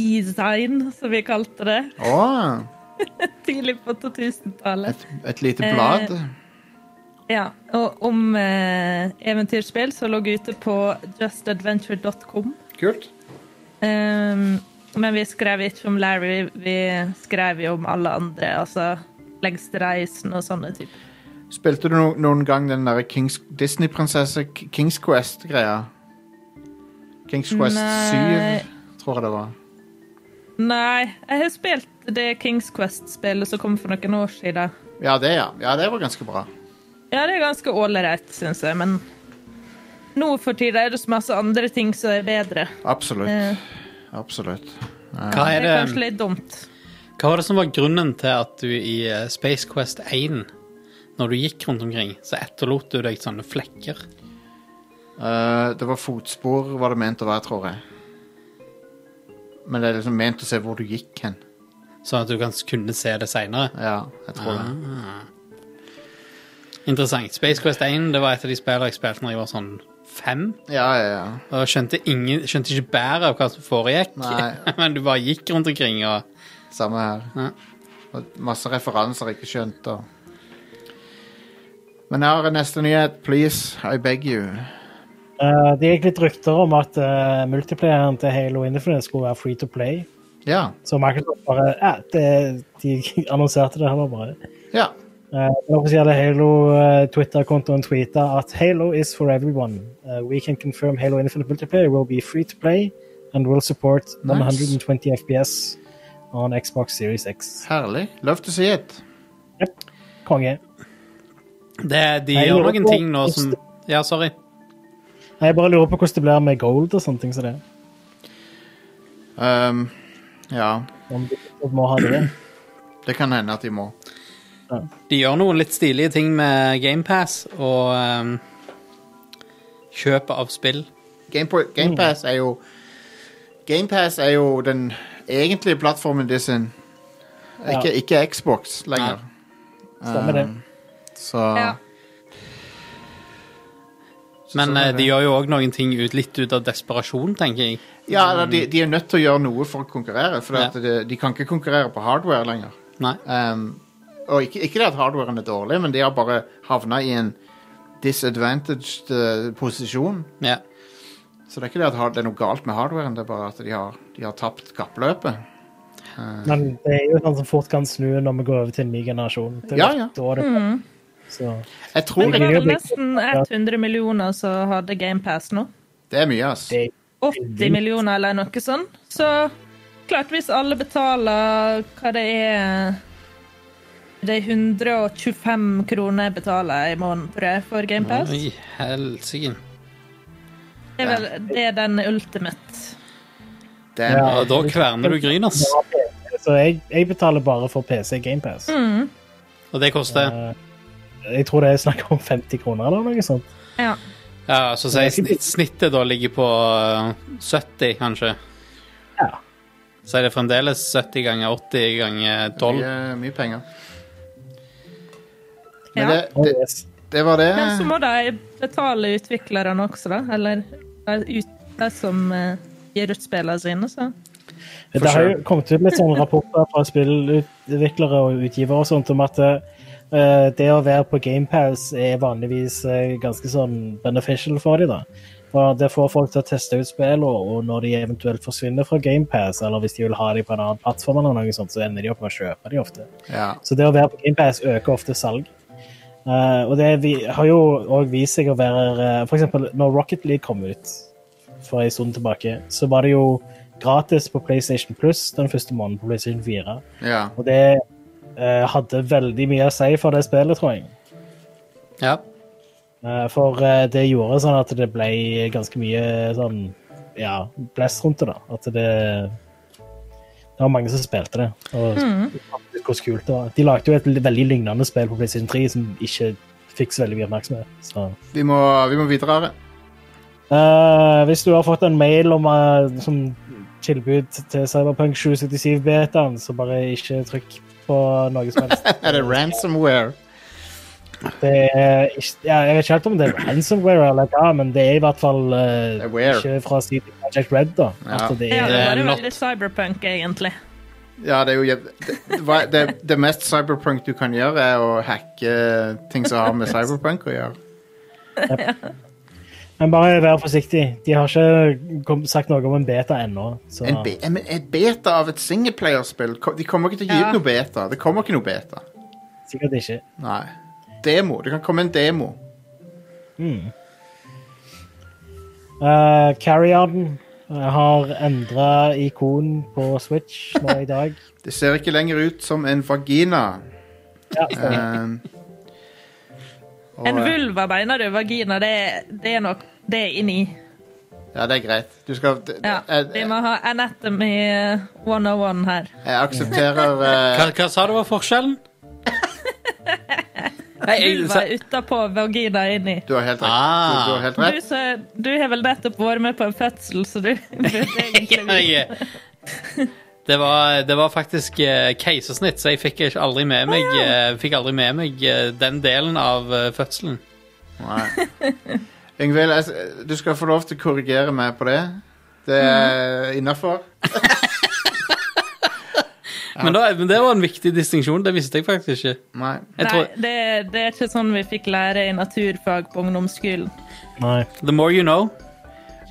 e-sign, som vi kalte det, Å! tidlig på 2000-tallet. Et, et lite eh, blad? Ja, og om eh, eventyrspill som lå ute på justadventure.com. Kult. Ehm, men vi skrev ikke om Larry, vi skrev jo om alle andre, altså lengste reisen og sånne typer. Spilte du no, noen gang den derre Kings- Disney-prinsesse K- Kings Quest-greia? Kings Quest Nei. 7, tror jeg det var. Nei, jeg har spilt det Kings Quest-spillet som kom for noen år siden. Ja, det, ja. ja, det var ganske bra. Ja, det er ganske ålreit, syns jeg, men nå for tida er det så masse andre ting som er bedre. Absolutt. Eh, Absolutt. Hva, Det er er kanskje det, litt dumt. hva var det som var grunnen til at du i eh, Space Quest 1, når du gikk rundt omkring, så etterlot du deg sånne flekker? Eh, det var fotspor, var det ment å være, tror jeg. Men det er liksom ment å se hvor du gikk hen. Sånn at du kan s- kunne se det seinere. Ja, jeg tror det. Interessant. Space Quest 1 det var et av de spillene jeg spilte når jeg var sånn fem. Ja, ja, ja. Og jeg skjønte, ingen, skjønte ikke bæret av hva som foregikk, Nei. <laughs> men du bare gikk rundt omkring og Samme her. Ja. Og masse referanser jeg ikke skjønte. Og... Men her er neste nyhet. Please, I beg you. Eh, det gikk litt rykter om at eh, multiplayeren til Halo Infinite skulle være free to play. Ja. Så Microsoft bare ja, det, De annonserte det heller bare. Ja. Eh, Den offisielle Halo-Twitter-kontoen tweetet at Halo is for everyone. Eh, we can confirm Halo Infinite Multiplayer will be free to play and will support Nice. 120 FPS on Xbox Series X. Herlig. Love to see it. Konge. det, De Nei, gjør jeg noen lurer på- ting nå som Ja, sorry. Jeg bare lurer på hvordan det blir med gold og sånne ting som det. Um, ja. Om de må ha det. Det kan hende at de må. De gjør noen litt stilige ting med GamePass og um, kjøp av spill. Gamepass Game Pass er jo Gamepass er jo den egentlige plattformen de sin. Ikke, ikke Xbox lenger. Stemmer det. Um, Så Ja. Men sånn er eh, det. de gjør jo òg noen ting ut, litt ut av desperasjon, tenker jeg. Ja, eller de, de er nødt til å gjøre noe for å konkurrere, for Ja. at de, de kan ikke konkurrere på hardware lenger. Nei. Um, og ikke, ikke det at hardwaren er dårlig, men de har bare havna i en disadvantaged eh, posisjon. Ja. Så det er ikke det at har- det er noe galt med hardwaren, det er bare at de har, de har tapt kappløpet. Men det er jo sånn som fort kan snu når vi går over til en ny generasjon. Det er Ja, ja. Mm. da det, så. Jeg Men tror det ikke var vel nesten 100 millioner som hadde GamePass nå. Det er mye, ass. Det- 80 millioner eller noe sånt. Så klart, hvis alle betaler hva det er Det er 125 kroner jeg betaler i måneden, tror jeg, for GamePass. Oi, helsike. Det er vel det er den ultimate. Det er, Ja, da kverner du Gryners. Så jeg, jeg betaler bare for PC GamePass. Mm. Og det koster Jeg tror det er snakk om 50 kroner eller noe sånt. Ja. Ja, så sier jeg snitt, snittet da ligger på eh, 70, kanskje. Ja. Så er det fremdeles 70 ganger 80 ganger 12. mye, mye penger. Men ja. det, det, yes. det var det. Ah. Men så må de betale utviklerne også, da. Eller de, ut, de som eh, gir ut spillene sine, så. Det har jo sure. kommet ut litt sånne rapporter fra spillutviklere og utgivere og sånt om at eh, det å være på GamePass er vanligvis eh, ganske sånn beneficial for dem, da. For det får folk til å teste ut spill, og, og når de eventuelt forsvinner fra GamePass, eller hvis de vil ha dem på en annen plattform, eller noe sånt, så ender de opp med å kjøpe dem ofte. Ja. Så det å være på GamePass øker ofte salg. Eh, og det vi, har jo òg vist seg å være eh, For eksempel når Rocket League kom ut for en stund tilbake, så var det jo gratis på PlayStation Plus den første måneden på PlayStation 4. ja. Og det eh, hadde veldig mye å si for det spillet, tror jeg. Ja. Eh, for eh, det gjorde sånn at det ble ganske mye sånn Ja, blest rundt det, da. At det Det var mange som spilte det. Og fant ut hvor kult det var. De lagde jo et veldig lignende spill på PlayStation 3 som ikke fikk så veldig mye oppmerksomhet. Så. Vi, må, vi må videre. Eh, hvis du har fått en mail om eh, som tilbud til Cyberpunk 777-betaen, så bare ikke trykk på noe som helst. <laughs> Er det ransomware? Det er ikke, ja, jeg vet ikke helt om det er ransomware eller hva, men det er i hvert fall eh, Aware. ikke fra CD Project Red. da. Ja. At det Ja, er, det var Eh, jo not- veldig cyberpunk, egentlig. Ja, det er jo jæv- det, hva- det, det mest cyberpunk du kan gjøre, er å hacke ting som har med cyberpunk å gjøre. men bare vær forsiktig. De har ikke kom, sagt noe om en beta ennå. Så En, be, en, en beta av et singleplayerspill Ko- De kommer ikke til å gi ut Ja. noe beta. Det kommer ikke noe beta. sikkert ikke. Nei. Demo. Det kan komme en demo. Uh, Carry-on eh, har endra ikon på Switch nå i dag. Det ser ikke lenger ut som en vagina. <laughs> Ja, stemmer. Um, og, En vulva, mener du? Vagina, det, er- det er nok det er inni. Ja, det er greit. Du skal d- Ja. Eh, jeg, Vi jeg, må ha Anatomy eh, 101 her. jeg <laughs> aksepterer eh, Hva, hva sa du var forskjellen? Nei, jeg, Vulva sa, er utapå, vagina er inni. Du har helt rett. Ah. Du, du har helt Du, rett. <laughs> <laughs> så, du har vel nettopp vært med på en fødsel, så du burde egentlig jeg, Det var, det var faktisk eh, keisersnitt, så jeg fikk ikke aldri med meg, eh, fikk aldri med meg eh, den delen av eh, fødselen. Nei. <laughs> Yngvild, jeg- du skal få lov til å korrigere meg på det. Det er innafor. Men, da, men det var en viktig distinksjon. Det visste jeg faktisk ikke. Nei. Jeg tror, Nei, det, det er ikke sånn vi fikk lære i naturfag på ungdomsskolen. Nei. the more you know.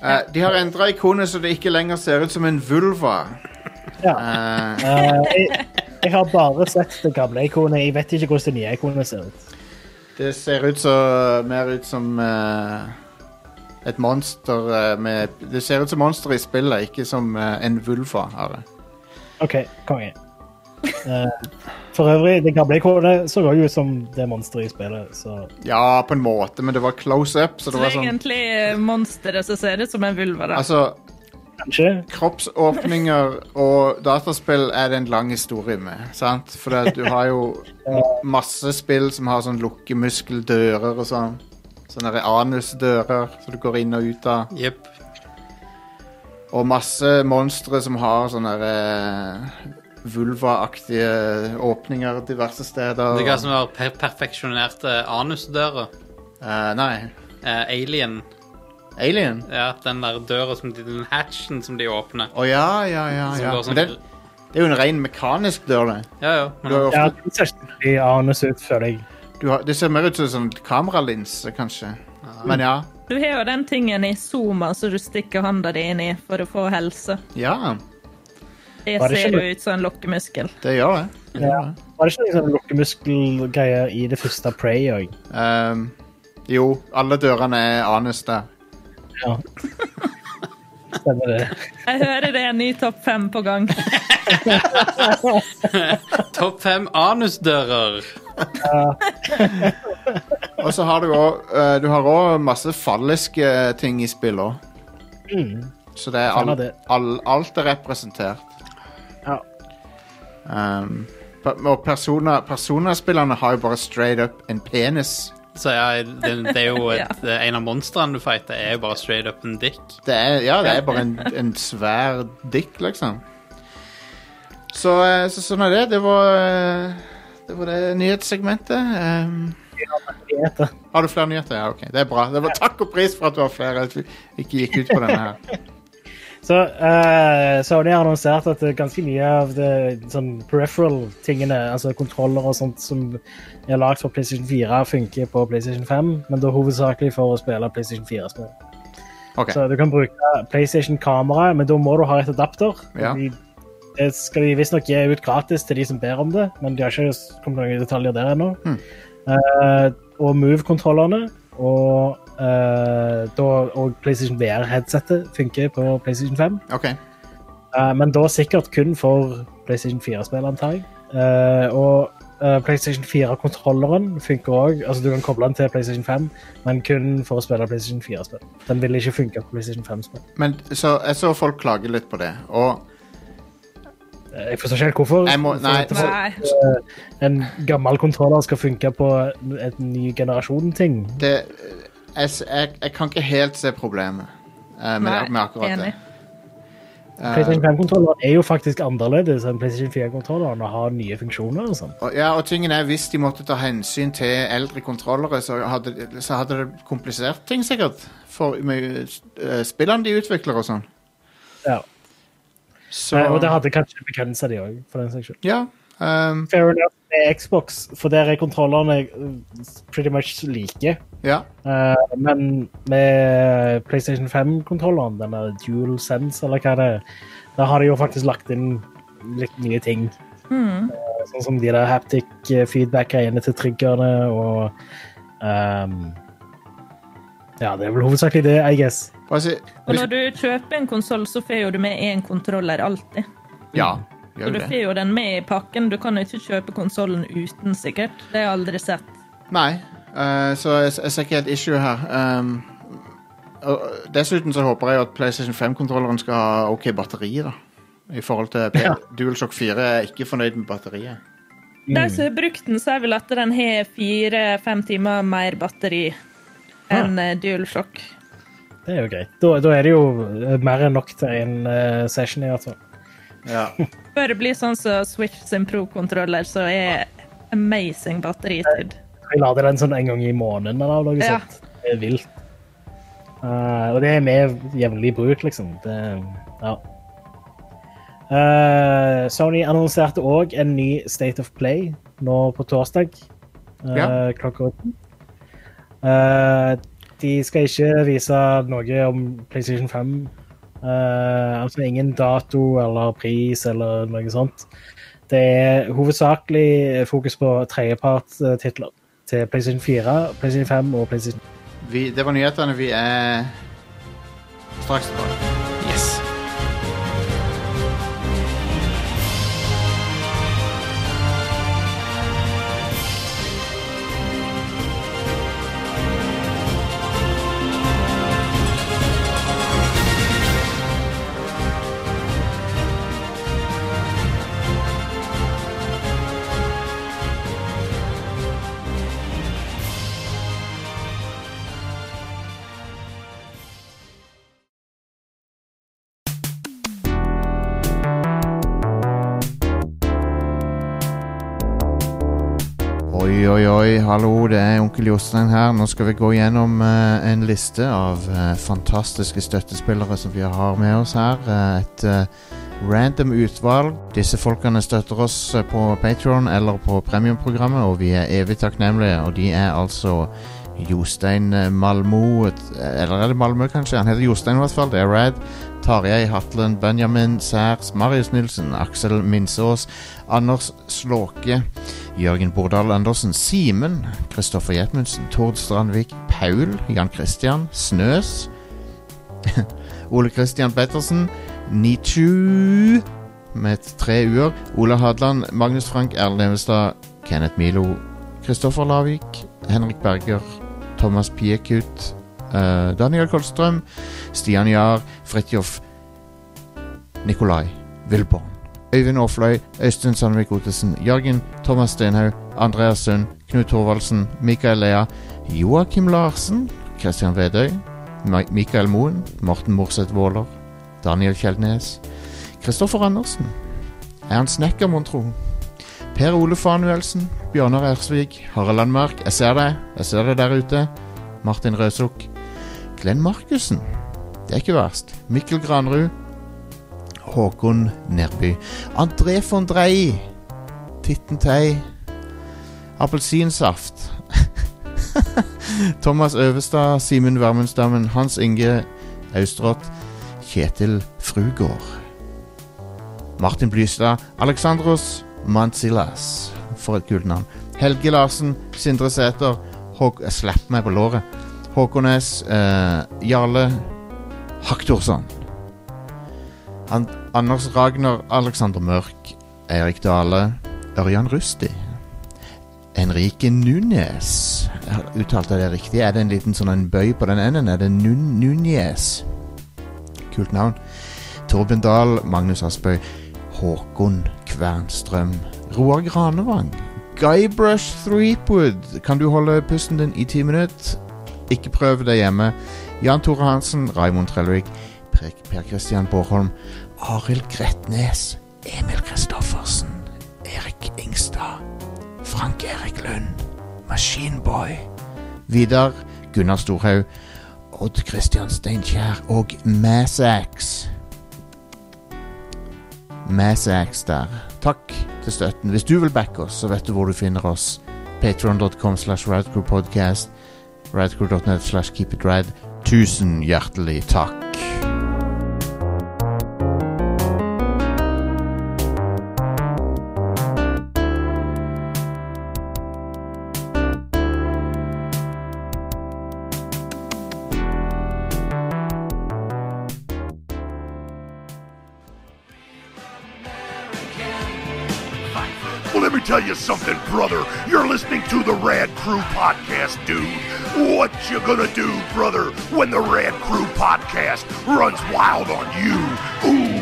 Eh, de har endra ikonet så det ikke lenger ser ut som en vulva. Ja. Eh, Eh, jeg, jeg har bare sett det gamle ikonet. Jeg vet ikke hvordan det nye ikonet ser ut. det ser ut så, mer ut som eh, et monster eh, med Det ser ut som monster i spillet, ikke som eh, en vulva. Har det. OK, konge. Eh, for øvrig, det gamle ikonet så også ut som det monsteret i spillet, så Ja, på en måte, men det var close up. Så Så det det var er sånn egentlig eh, monsteret som ser ut som en vulva. da. Altså, kanskje. kroppsåpninger og dataspill er det en lang historie med, sant? For det, du <laughs> har jo masse spill som har sånn lukkemuskeldører og sånn. Sånne der anusdører som du går inn og ut av. Jepp. Og masse monstre som har sånne der, eh, vulvaaktige åpninger diverse steder. Det er hva som var per perfeksjonerte anusdøra. Eh, nei. Eh, alien. Alien? Ja, den der døra som de, Den hatchen som de åpner. Å ja, ja, ja. Som ja. går sånn- Men det, det er jo en ren mekanisk dør, det. Ja, ja. Du Men, har jo Ja, ofte, det ser skikkelig anus ut, føler jeg. du har, det ser mer ut som en sånn kameralinse, kanskje. Men ja. Du har jo den tingen i Zuma som du stikker hånda di inn i for å få helse. Ja, Det Var det ser ikke- jo ut som en lokkemuskel. det gjør det. det, Ja. gjør det. Var det ikke liksom lukkemuskelgreier i det første Prey òg? Ehm, jo, alle dørene er anus der. Ja. Stemmer det. Jeg hører det er en ny topp fem <laughs> på gang. topp fem anusdører. Og så har du òg Du har også masse falliske eh, ting i spillet òg. Så det er all, Fan av Mm. det. all, alt er representert. Ja. Ehm, pe- og persona, Persona-spillerne har jo bare straight up en penis. Så ja, det, det <laughs> er jo et, eh, en av monstrene du fighter, er jo bare straight up en dick. Det er, ja, det er bare en, en svær dick, liksom. Så, eh, så sånn er det. Det var eh, Det var det nyhetssegmentet. Ehm, Nyheter. Har du flere nyheter? Ja, ok. Det er bra. Det var takk og pris for at du har flere. At vi ikke gikk ut på denne her. Så eh, Sony har annonsert at det er ganske mye av det sånn peripheral-tingene, altså kontroller og sånt som er lagd for PlayStation 4, funker på PlayStation 5, men da hovedsakelig for å spille PlayStation 4-spill. Ok, Så du kan bruke PlayStation-kamera, men da må du ha et adapter. Ja. De, det skal de visstnok gi ut gratis til de som ber om det, men de har ikke kommet noen detaljer der ennå. Hmm. Eh, og Move-kontrollerne og, eh, da- og PlayStation VR-headsetet funker på PlayStation 5. ok. Eh, men da sikkert kun for PlayStation 4-spill, antar jeg. Eh, og eh, PlayStation 4-kontrolleren funker òg. Altså, du kan koble den til PlayStation 5, men kun for å spille PlayStation 4-spill. Den vil ikke funke på PlayStation 5-spill. Men så, jeg så folk klage litt på det. Og Jeg forstår ikke helt hvorfor jeg må Nei. For så- Nei. at en gammel kontroller skal funke på et ny generasjon-ting. Det, jeg, s- jeg, jeg kan ikke helt se problemet eh, med, Nei, med akkurat det. enig. PlayStation 5-kontrolleren er jo faktisk annerledes enn PlayStation 4-kontrolleren og har nye funksjoner. og sånn. Og, ja, og tingen er, Hvis de måtte ta hensyn til eldre kontrollere, så hadde, så hadde det komplisert ting sikkert. For med eh, spillene de utvikler og sånn. Ja. Så Eh, Og det hadde kanskje begrensa de òg, for den saks skyld. Ja. ehm, Fair enough med Xbox, for der er kontrollerne eh, pretty much like. ja. Eh, men med PlayStation 5-kontrolleren, denne dual sense, eller hva det er, da har de jo faktisk lagt inn litt nye ting. Eh, sånn som de der haptic eh, feedback-greiene til triggerne og ehm, Ja, det er vel hovedsakelig det, I guess. Bare si Og hvis, når du kjøper en konsoll, så får jo du med én kontroller alltid. Ja. Og Gjør du jo får det. jo den med i pakken. Du kan jo ikke kjøpe konsollen uten, sikkert. Det har jeg aldri sett. Nei, eh, så jeg, jeg ser ikke et issue her. Um, og dessuten så håper jeg jo at PlayStation 5-kontrolleren skal ha OK batteri. da I forhold til P DualShock 4 er jeg ikke fornøyd med batteriet. Mm. De som har brukt den, sier vel at den har fire-fem timer mer batteri Ah. enn eh, DualShock. Det er jo greit. Da, da er det jo eh, mer enn nok til en eh, session, i hvert fall. Ja. Bør det bli sånn som Switch sin Pro-kontroller, så er amazing batteritid. Jeg lader den sånn en gang i måneden eller noe Ja. sånt. Det er vilt. Eh, og det er med jevnlig bruk, liksom. Det, ja. Eh, Sony annonserte òg en ny State of Play nå på torsdag eh, Ja. klokka åtte. Eh, de skal ikke vise noe om PlayStation 5. Eh, altså ingen dato eller pris eller noe sånt. Det er hovedsakelig fokus på tredjepartstitler til PlayStation 4, PlayStation 5 og PlayStation Vi, det var nyhetene. Vi er straks tilbake. Yes. Oi, oi, oi. Hallo, det er onkel Jostein her. Nå skal vi gå gjennom eh, en liste av eh, fantastiske støttespillere som vi har med oss her. Eh, et eh, random utvalg. Disse folkene støtter oss eh, på Patron eller på premiumprogrammet, og vi er evig takknemlige. Og de er altså Jostein eh, Malmo et- Eller er det Malmö, kanskje? Han heter Jostein, i hvert fall. Det er Rad. Tarjei Hatlen, Benjamin Særs, Marius Nilsen, Aksel Minsås, Anders Slåke. Jørgen Bordal Andersen, Simen, Kristoffer Gjetmundsen, Tord Strandvik, Paul, Jan Christian, Snøs, <laughs> Ole Christian Pettersen, Nichu med tre uer, Ola Hadeland, Magnus Frank, Erlend Evestad, Kenneth Milo, Kristoffer Lavik, Henrik Berger, Thomas Piekut, eh, Daniel Kolstrøm, Stian Jahr, Fridtjof, Nikolai Vilborn. Øyvind Aafløy, Øystein Sandvik Otesen, Jørgen, Thomas Stenhaug, Andreas Sund, Knut Thorvaldsen, Mikael Lea, Joakim Larsen, Kristian Vedøy, Ma- Mikael Moen, Morten Morseth Våler, Daniel Kjeldnes, Kristoffer Andersen, Ernst Necker, mon tro, Per Ole Fanuelsen, Bjørnar Ersvik, Harald Landmark, jeg ser deg, jeg ser deg der ute, Martin Røsuk, Glenn Markussen, det er ikke verst, Mikkel Granrud, Håkon Nerby. André von Drei. Titten Tei. Appelsinsaft. <laughs> Thomas Øverstad, Simen Vermundsdammen, Hans Inge Austrått, Kjetil Frugård. Martin Blystad, Alexandros Mantsilas. For et kult navn. Helge Larsen, Sindre Sæter Håk... Jeg slapp meg på låret. Håkon S. eh, Jarle Haktorsson. An Anders Ragnar, Alexander Mørk, Erik Dale, Ørjan Rusti. Henrike Nunes. Uttalte jeg det riktig? Er det en liten sånn en bøy på den enden? Er det Nun Nunes? Kult navn. Torben Dahl, Magnus Aspøy, Håkon Kvernstrøm, Roar Granevang. Guybrush Threepwood. Kan du holde pusten din i ti minutter? Ikke prøv det hjemme. Jan Tore Hansen, Raimond Trellevik, Per- Per Christian Bårholm, Arild Gretnes, Emil Kristoffersen, Erik Ingstad, Frank Erik Lund, Maskinboy, Vidar Gunnar Storhaug, Odd Christian Steinkjer og Massax. Massax der. Takk til støtten. Hvis du vil backe oss, så vet du hvor du finner oss. Patron.com slash radcrewpodcast. Radcrew.net slash keepitrad. Tusen hjertelig takk. Well, let me tell you something, brother. You're listening to the Rad Crew podcast, dude. What you gonna do, brother, when the Rad Crew podcast runs wild on you? Ooh.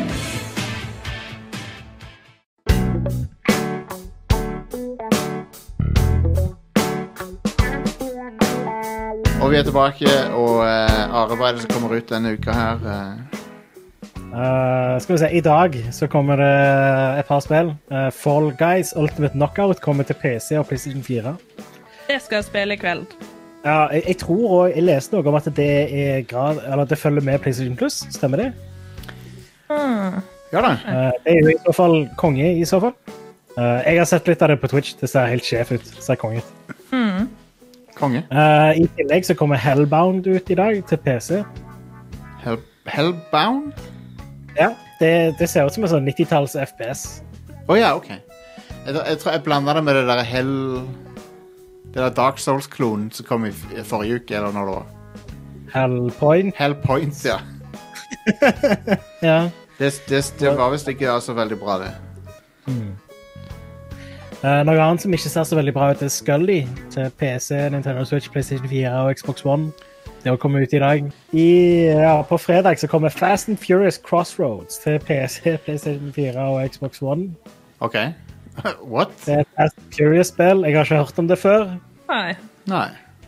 Og vi er tilbake, og eh, arbeidet som kommer ut denne uka her eh, Eh, skal vi se, I dag så kommer det et par spill. Eh, Fall Guys Ultimate Knockout kommer til PC og PlayStation 4. Det skal jeg spille i kveld. Ja, jeg, jeg tror og jeg leste noe om at det, er grad, eller det følger med PlayStation Plus. Stemmer det? Hmm. Ja da. Eh, det er jo i så fall konge, i så fall. Eh, jeg har sett litt av det på Twitch. Det ser helt sjef ut. Det ser konge ut. Konge. Eh, I tillegg så kommer Hellbound ut i dag til PC. Hell, hellbound? Ja, Det, det ser ut som en sånn 90-talls FPS. Å ja, OK. Jeg, jeg tror jeg blanda det med det der Hell Det der Dark Souls-klonen som kom i, f- i forrige uke, eller når det var. Hellpoint. Hell Points, ja. Ja. Det, det, det var visst ikke så veldig bra, det. Eh, noe annet som ikke ser så veldig bra ut, er Scully til PC, Nintendo Switch, PlayStation 4 og Xbox One. Det har kommet ut i dag. I, ja, på fredag så kommer Fast and Furious Crossroads til PC, <laughs> PlayStation 4 og Xbox One. OK. <laughs> What? Det er et Fast and Furious-spill. Jeg har ikke hørt om det før, Nei. Nei.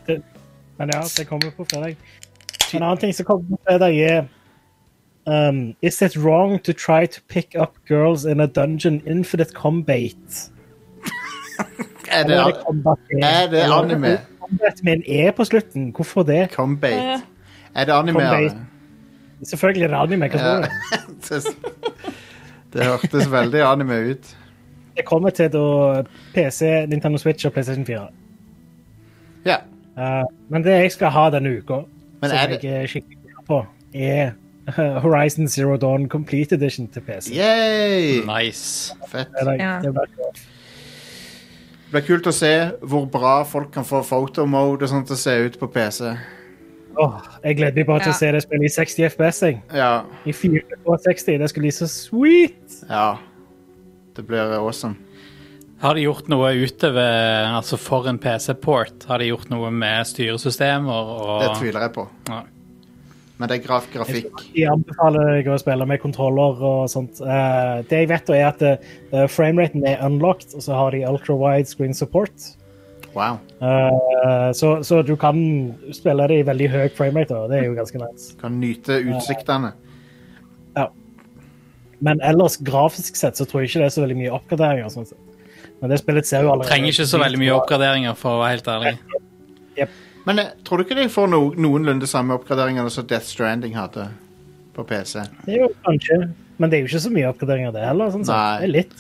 men ja, det kommer på fredag. En annen ting som kommer på fredag, er um, Is it wrong to try to pick up girls in a dungeon infinite combat? Er det, Eller er det combat? er det anime? Combat med en E på slutten. Hvorfor det? Ja. Combate? Er det anime? Combate. Arne? Selvfølgelig er det anime. Hva tror Ja. <laughs> du? det, det hørtes veldig anime ut. Det kommer til da PC, Nintendo Switch og PlayStation 4. Ja. Eh, men det jeg skal ha denne uka, Men som er det- jeg er skikkelig glad på, er <laughs> Horizon Zero Dawn Complete Edition til PC. Yay! Nice. Fett. Det, Ja. det blir kult. Det blir kult å se hvor bra folk kan få photomode og sånt til å se ut på PC. Åh, jeg gleder meg bare til Ja. å se det spille i 60 FPS. jeg. Ja. I 460. Det skulle bli så sweet! ja. Det blir awesome. Har de gjort noe utover altså for en PC-port? Har de gjort noe med styresystemer og Det tviler jeg på. Ja. Men det er graf grafikk. Jeg anbefaler deg å spille med kontroller og sånt. Eh, det jeg vet, da, er at eh, frameraten er unlocked, og så har de ultra-wide screen support. Wow. Eh, så, så du kan spille det i veldig høy framerate, da, og det er jo ganske nice. Kan nyte utsiktene. Ja. Men ellers, grafisk sett, så tror jeg ikke det er så veldig mye oppgraderinger. Sånn sett. Men det spillet ser jo allerede Trenger ikke så veldig mye oppgraderinger, for å være helt ærlig. Men eh, tror du ikke de får no noenlunde samme oppgraderingene som Death Stranding hadde på PC? Det er jo kanskje, men det er jo ikke så mye oppgraderinger det heller. Sånn sett. Nei. Det er litt.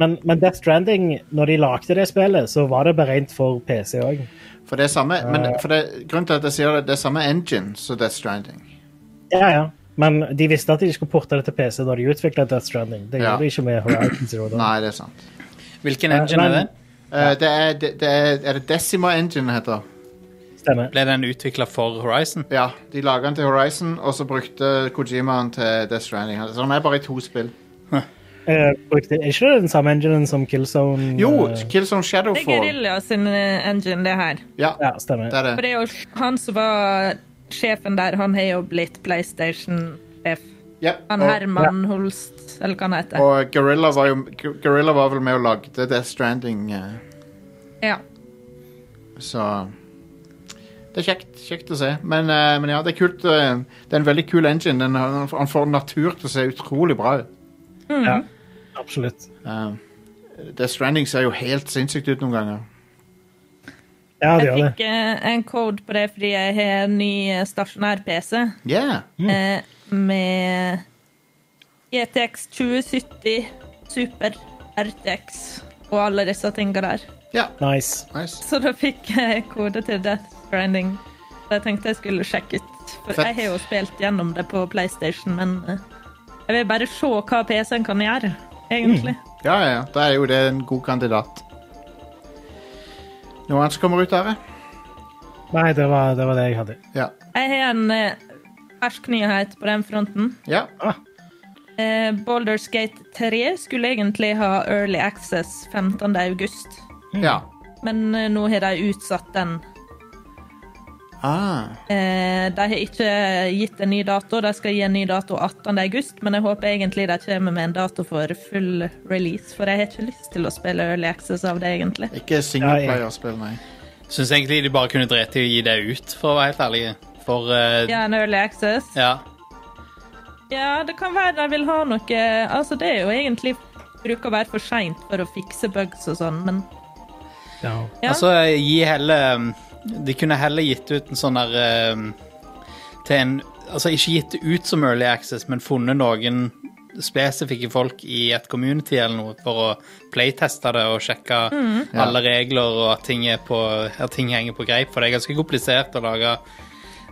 Men, men Death Stranding, når de lagde det spillet, så var det beregnet for PC òg. For det er samme men for det, Grunnen til at jeg sier det, det er samme engine som Death Stranding. Ja, ja. Men de visste at de skulle porte det til PC da de utvikla Death Stranding. Det Ja. gjorde de ikke med Horizon Zero Dawn. Nei, det er sant. Hvilken engine er det? Eh, det er, det, det er, er det Decima Engine det heter? Stemmer. Ble den utvikla for Horizon? Ja, de laga den til Horizon, og så brukte Kojima den til Death Stranding. Så den er bare i to spill. Eh, brukte, er ikke det den samme enginen som Killzone? Jo, eh, Killzone Det er Shadowfall. Guerrilla sin eh, engine, det her. Ja, Ja, stemmer. det er For det. det er jo han som var sjefen der, han har jo blitt PlayStation-sjef. Ja, Han og, Herman Holst, eller hva han heter. og Gorilla var jo Gu- Guerrilla var vel med og lagde Death Stranding, eh, Ja. så Det er kjekt, kjekt å se. Men, eh, men ja, det er kult. eh, Det er en veldig kul engine. Den, har- han får natur til å se utrolig bra ut. Ja, absolutt. Eh, Death Stranding ser jo helt sinnssykt ut noen ganger. Ja, det Jeg gjør det. fikk eh, en code på det fordi jeg har en ny eh, stasjonær PC Yeah. eh, med E GTX 2070, Super RTX og alle disse tinga der. Ja, Nice. nice. Så da fikk jeg kode til Death Stranding. Så jeg tenkte jeg skulle sjekke ut. For Fett. jeg har jo spilt gjennom det på PlayStation, men eh, jeg vil bare se hva PC-en kan gjøre, egentlig. Ja, ja, ja. Da er jo det en god kandidat. Noe annet som kommer ut der, Nei, det var det, var det jeg hadde. ja. Jeg har en eh, fersk nyhet på den fronten. ja. Eh, Baldur's Gate 3 skulle egentlig ha Early Access 15. august, Ja. men eh, nå har de utsatt den. Ah. Eh, de har ikke gitt en ny dato. De skal gi en ny dato 18. august, men jeg håper egentlig de kommer med en dato for full release, for jeg har ikke lyst til å spille Early Access av det, egentlig. Ikke singleplayerspill, nei. Syns egentlig de bare kunne drete i å gi det ut, for å være helt ærlig. For eh, Ja, en Early Access. ja. Ja, det kan være de vil ha noe Altså, det er jo egentlig bruker å være for seint for å fikse bugs og sånn, men Ja. ja. Altså, gi heller um, De kunne heller gitt ut en sånn der um, Til en Altså, ikke gitt det ut som early access, men funnet noen spesifikke folk i et community eller noe for å playteste det og sjekke alle regler og at ting, er på, at ting henger på greip. For det er ganske komplisert å lage,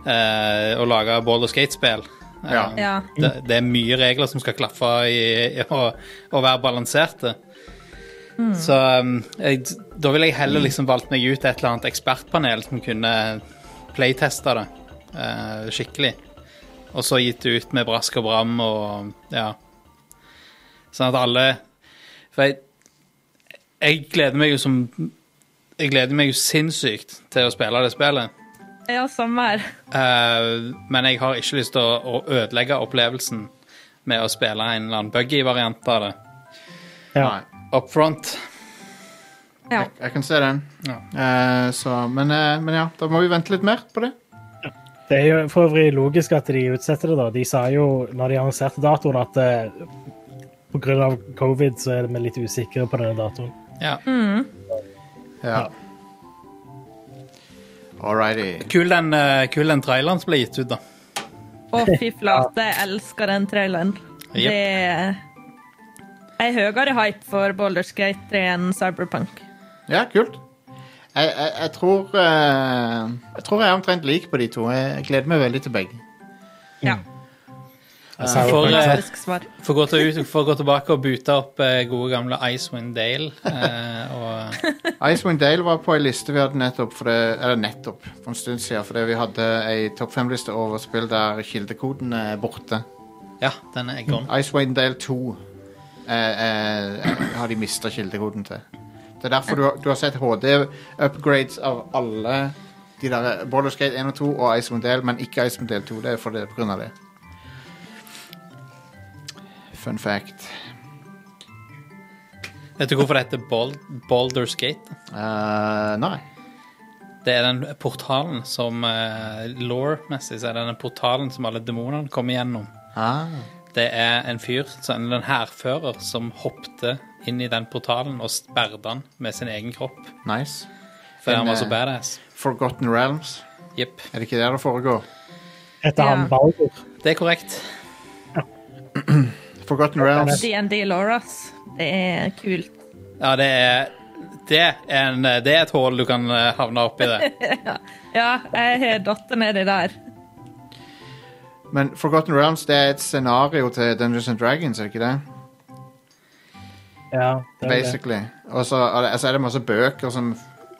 eh, å lage ball- og skatespill. Ja. Eh, Ja. Det, det er mye regler som skal klaffe i, i, og, og være balanserte. Så um, jeg, da ville jeg heller liksom valgt meg ut et eller annet ekspertpanel som kunne playteste det eh, skikkelig. Og så gitt det ut med brask og bram og ja. Sånn at alle For jeg, jeg gleder meg jo som Jeg gleder meg jo sinnssykt til å spille det spillet. ja, samme her. Eh, men jeg har ikke lyst til å, å ødelegge opplevelsen med å spille en eller annen buggy variant av det. Ja. Nei. Up front. Ja. Jeg kan se den. Ja. Eh, så, men, eh, men ja, da må vi vente litt mer på det. Det er jo for øvrig logisk at de utsetter det, da. De sa jo når de annonserte datoen, at eh, på grunn av covid så er vi litt usikre på denne datoen. Ja. Ja. All righty. Kul, den, eh, kul den traileren som ble gitt ut, da. Å, fy flate, jeg elsker den traileren. Det er Jeg er høyere hype for Baldur's Gate 3 enn Cyberpunk. Ja, kult. Jeg, jeg, jeg tror eh, Jeg tror jeg er omtrent lik på de to. Jeg gleder meg veldig til begge. Ja. For, eh, Faktisk svar. for, å gå til, ut- for å gå tilbake og bute opp eh, gode gamle Icewind Dale. eh, og, Icewind Dale var på ei liste vi hadde nettopp for, det, eller nettopp, for en stund siden. Fordi vi hadde ei topp fem-liste over spill der kildekoden er borte. ja, den er gone. Icewind Dale 2 eh, eh, har de mista kildekoden til. Det er derfor du, har- du har sett HD-upgrades av alle de der Baldur's Gate 1 og 2 og Icewind Dale, men ikke Icewind Dale 2. Det er for det, på grunn av det. Fun fact. Vet du hvorfor det heter Bal Baldur's Gate? Eh, nei. Det er den portalen som uh, Law-messig så er det den portalen som alle demonene kommer gjennom. Ah. Det er en fyr, så en en hærfører, som hoppte inn i den portalen og sperret den med sin egen kropp. Nice. Fordi En, han var så eh, badass. Forgotten Realms. Jepp. Er det ikke der det foregår? Etter Ja. han Baldur. Det er korrekt. Forgotten Realms. DND Lauras. Det er kult. Ja, det er det er, en, det er et hull du kan eh, havne oppi <laughs> det. Ja, jeg har datter nedi der. Men Forgotten Realms det er et scenario til Dungeons and Dragons, er det ikke det? Ja, det er det. Basically. Og så er det- altså er det masse bøker som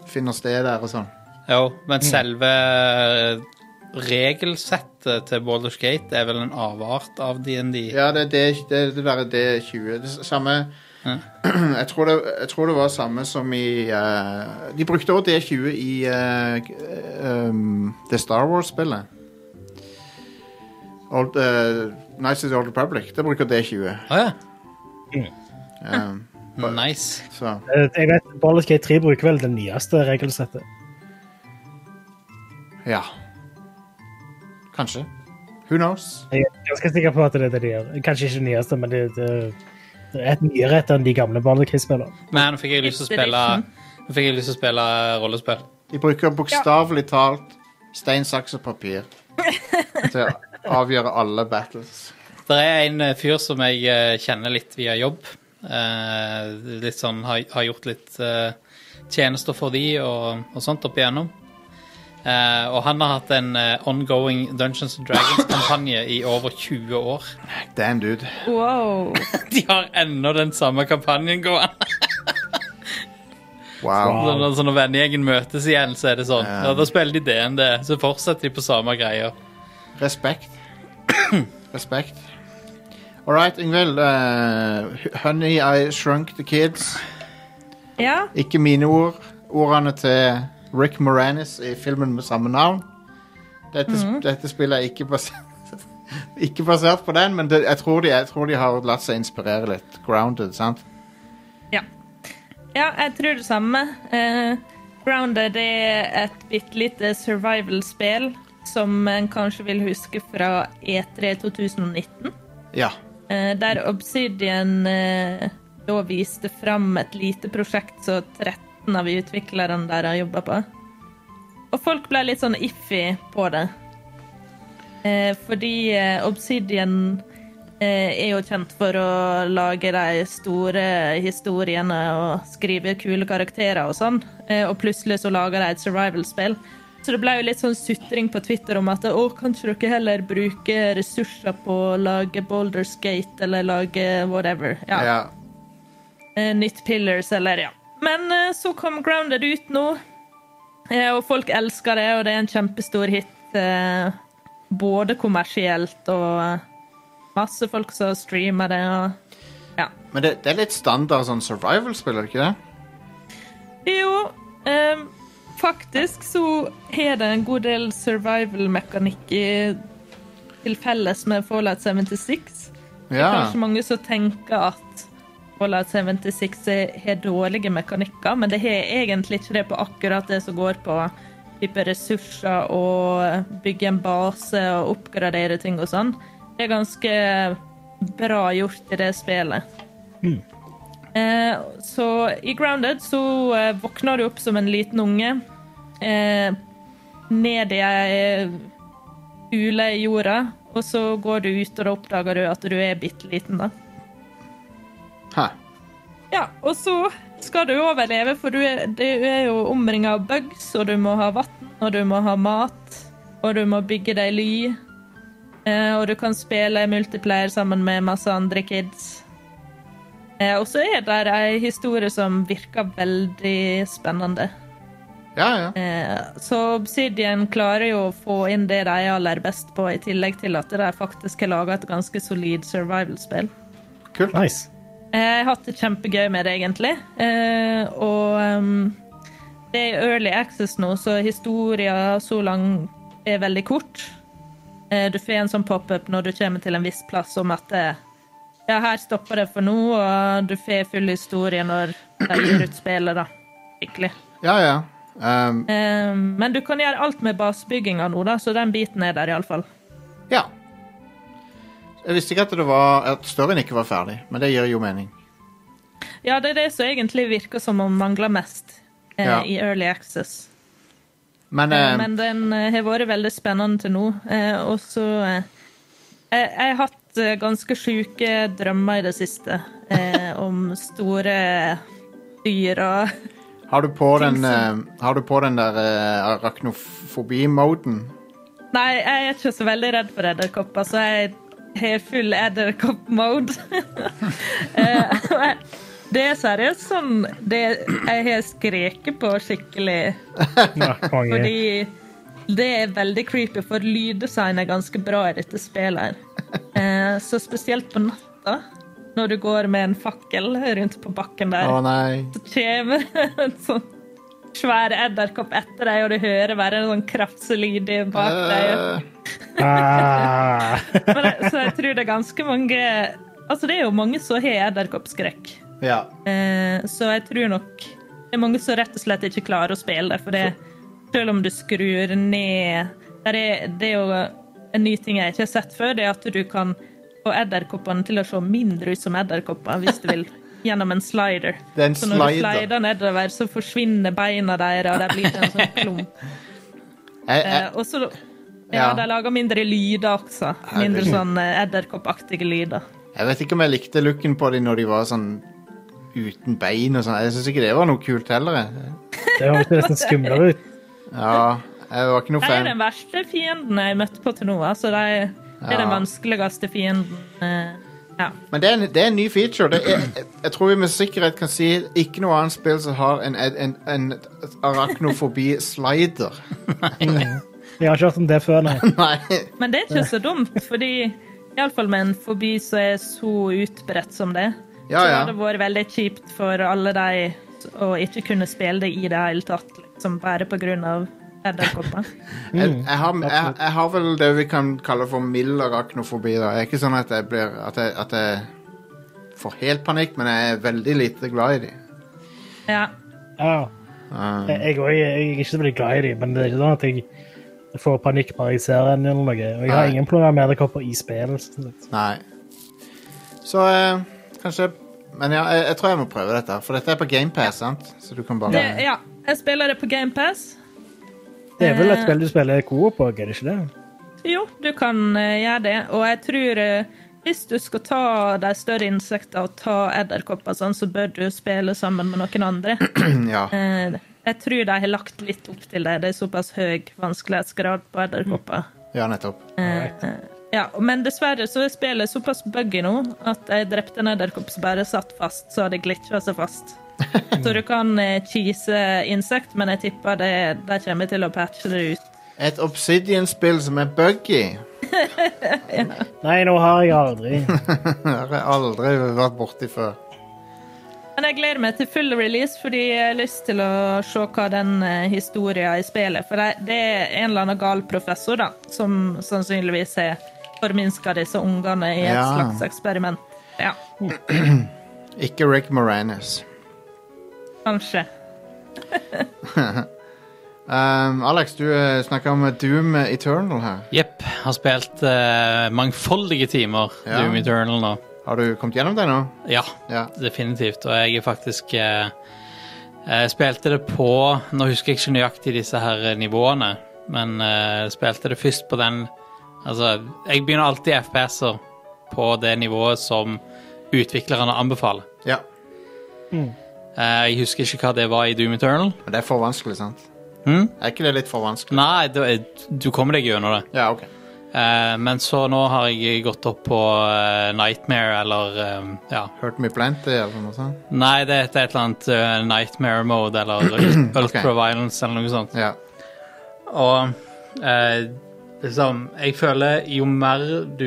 finner sted der og sånn. Jo, men selve eh, regelsettet til Baldur's Gate er vel en avart av DND. Ja, det er D- det, det der er D20. Det s- samme <clears throat> jeg, tror det, jeg tror det var samme som i eh, De brukte også D20 i eh, g- um, det Star Wars-spillet. Old, eh, Knights of the Old Republic. Det bruker D20. Å ja. Um, Nice. så Eh, Jeg vet Baldur's Gate 3 bruker vel det nyeste regelsettet. ja. Kanskje. Who knows? Jeg er ganske sikker på at det er det de gjør. Kanskje ikke det nyeste, men det, det, det er et nyere etter enn de gamle Baldur's Gate-spillene. Men nå fikk jeg lyst til å spille Nå fikk jeg lyst til å spille rollespill. De bruker bokstavelig talt stein, saks og papir til å avgjøre alle battles. Det er en eh, fyr som jeg eh, kjenner litt via jobb. Eh, litt sånn, har, har gjort litt eh, tjenester for de og, og sånt opp igjennom. Eh, og han har hatt en eh, ongoing Dungeons and Dragons-kampanje i over 20 år. <laughs> Damn, dude. Wow. De har ennå den samme kampanjen gående. <laughs> Wow. Så når- så når vennegjengen møtes igjen, så er det sånn. Ja, da spiller de DND, så fortsetter de på samme greia. Respekt. <clears throat> Respekt. All right, Ingvild. eh, honey, I shrunk the kids. Ja, Ikke mine ord. Ordene til Rick Moranis i filmen med samme navn. Dette, sp- Mhm. dette spillet er ikke basert <laughs> Ikke basert på den, men det, jeg, tror de, jeg tror de har latt seg inspirere litt. Grounded, sant? Ja. ja, jeg tror det samme. Eh, Grounded er et bitte lite survival-spill som en kanskje vil huske fra E3 E 2019. Ja. eh, der Obsidian eh, da viste fram et lite prosjekt som 13 av utviklerne der har jobba på. Og folk ble litt sånn iffy på det. Eh, fordi eh, Obsidian eh, er jo kjent for å lage de store historiene og skrive kule karakterer og sånn, eh, og plutselig så lager de et survival-spill. Så det ble jo litt sånn sutring på Twitter om at å, kan ikke dere heller bruke ressurser på å lage Baldur's Gate eller lage whatever. Ja. ja. Eh, nytt Pillars eller ja. Men eh, så kom Grounded ut nå, eh, og folk elsker det, og det er en kjempestor hit. Eh, både kommersielt og eh, masse folk som streamer det. Og, ja. Men det, det er litt standard sånn survival-spill, er det ikke det? Jo, ehm, faktisk så har det en god del survival-mekanikk i- til felles med Fallout 76. Det er Ja. kanskje mange som tenker at Fallout 76 er- har dårlige mekanikker, men det har egentlig ikke det på akkurat det som går på type ressurser og bygge en base og oppgradere ting og sånn. Det er ganske bra gjort i det spillet. Eh, så i Grounded så eh, våkner du opp som en liten unge. Eh, ned i ei ule i jorda, og så går du ut, og da oppdager du at du er bitte liten, da. Hæ. Ja, og så skal du overleve, for du er, du er jo omringa av bugs, og du må ha vann, og du må ha mat, og du må bygge deg ly. Eh, og du kan spille multiplayer sammen med masse andre kids. Eh, og så er det ei historie som virker veldig spennende. Ja, ja. Eh, Så Obsidian klarer jo å få inn det de er aller best på, i tillegg til at de faktisk har laga et ganske solid survival-spill. Kult. Nice. Eh, Jeg har hatt det kjempegøy med det, egentlig. Eh, Og ehm, det er early access nå, så historien så lang er veldig kort. Eh, Du får en sånn pop-up når du kommer til en viss plass om at eh, ja, her stopper det for nå, og du får full historie når de gir ut spillet, da. Skikkelig. Ja, ja. Um, Eh, Men du kan gjøre alt med basebygginga nå, da, så den biten er der iallfall. ja. Jeg visste ikke at det var At storyen ikke var ferdig, men det gir jo mening. Ja, det er det som egentlig virker som om mangler mest eh, Ja. i Early Access. Men, Eh, eh, Men den eh, har vært veldig spennende til nå. eh, Og så eh, Jeg jeg har hatt eh, ganske sjuke drømmer i det siste eh, om store dyr og <laughs> har du på den, ting som- eh, har du på den der uh, arachnofobi-moden? Nei, jeg er ikke så veldig redd for edderkopper, så jeg har full edderkopp-mode. <laughs> Eh, <laughs> og jeg- det er seriøst sånn det, Jeg har skreket på skikkelig, Ja, konge. fordi det er veldig creepy, for lyddesign er ganske bra i dette spillet. her. Eh, så spesielt på natta, når du går med en fakkel rundt på bakken der Å nei. kommer <laughs> en sånn svær edderkopp etter deg, og du hører bare en sånn krafselyd i bak deg. <laughs> Ah, Men jeg, så jeg tror det er ganske mange Altså, det er jo mange som har edderkoppskrekk. Ja. Eh, så jeg tror nok det er mange som rett og slett ikke klarer å spille det, for det selv om du skrur ned der er, Det er jo en ny ting jeg ikke har sett før, det er at du kan få edderkoppene til å se mindre ut som edderkopper hvis du vil. <laughs> Gjennom en slider. Det er en så når du slider. slider nedover, så forsvinner beina deres, og de blir til en <laughs> sånn klump. Jeg, Eh, jeg, og så ja, Ja. de lager mindre lyder også. Mindre Herregud. sånn eh, edderkoppaktige lyder. jeg vet ikke om jeg likte looken på dem når de var sånn uten bein og sånn. Jeg syns ikke det var noe kult heller. jeg. det høres nesten skumlere ut. Ja, jeg var ikke noe De er fan. den verste fienden jeg har møtt på til nå. Altså, de det er den vanskeligste fienden. eh, Ja. Men det er, en, det er en ny feature. Det er, jeg, jeg tror vi med sikkerhet kan si ikke noe annet spill som har en, en, en arachnofobi-slider. Jeg har ikke hørt om det før, nei. <laughs> Nei. Men det er ikke så dumt, fordi iallfall med en fobi som er så utbredt som det, Ja, så ja. har det vært veldig kjipt for alle de å ikke kunne spille det i det hele tatt, liksom bare på grunn av <laughs> edderkopper. Jeg, jeg, har, jeg, jeg har vel det vi kan kalle for mild arachnofobi. Da. Jeg er ikke sånn at jeg, blir, at jeg, at jeg får helt panikk, men jeg er veldig lite glad i dem. Ja. Ja. Ah. Jeg, jeg, også- jeg er ikke så veldig glad i dem, men det er ikke sånn at jeg får panikk bare jeg ser en eller noe. Og jeg har Nei. ingen planer med edderkopper i spillet. sånn sett. Nei. Så eh, kanskje Men ja, jeg, jeg tror jeg må prøve dette, her, for dette er på GamePass, sant? Så du kan bare Det, ja, jeg spiller det på GamePass. Det er vel et spill du spiller co-op på, er det ikke det? Jo, du kan eh, gjøre det, og jeg tror eh, hvis du skal ta de større insektene og ta edderkopper og sånn, så bør du spille sammen med noen andre. ja. Eh, jeg tror de har lagt litt opp til det. Det er såpass høy vanskelighetsgrad på edderkopper. ja, nettopp. Eh, ja, men dessverre så er spillet såpass buggy nå at jeg drepte en edderkopp som bare satt fast, så hadde glitcha seg fast. Så du kan eh, cheese insekt, men jeg tipper det, de kommer til å patche det ut. Et Obsidian-spill som er buggy. <laughs> Nei, nå har jeg aldri. <laughs> Det har jeg aldri vært borti før. Men jeg gleder meg til full release, fordi jeg har lyst til å se hva den eh, historien i spillet For det, det er en eller annen gal professor, da, som sannsynligvis har forminska disse ungene i et Ja. slags eksperiment. Ja, Ikke Rick Moranis. kanskje. Um, Alex, du eh, snakka om Doom Eternal her. Jepp. Har spilt eh, mangfoldige timer Ja. Doom Eternal nå. Har du kommet gjennom det nå? Ja, Ja. definitivt. Og jeg er faktisk eh, jeg spilte det på Nå husker jeg ikke nøyaktig disse her eh, nivåene, men eh, jeg spilte det først på den Altså, jeg begynner alltid FPS-er på det nivået som utviklerne anbefaler. ja. Eh, jeg husker ikke hva det var i Doom Eternal. Men det er for vanskelig, sant? Hm? Er ikke det litt for vanskelig? Nei, du, du kommer deg gjennom det. Ja, OK. Eh, men så nå har jeg gått opp på eh, Nightmare, eller eh, ja. Hurt me plenty eller noe sånt? Nei, det heter et eller annet eh, Nightmare Mode, eller Ultra Violence, eller noe sånt. Ja. Og eh, liksom Jeg føler jo mer du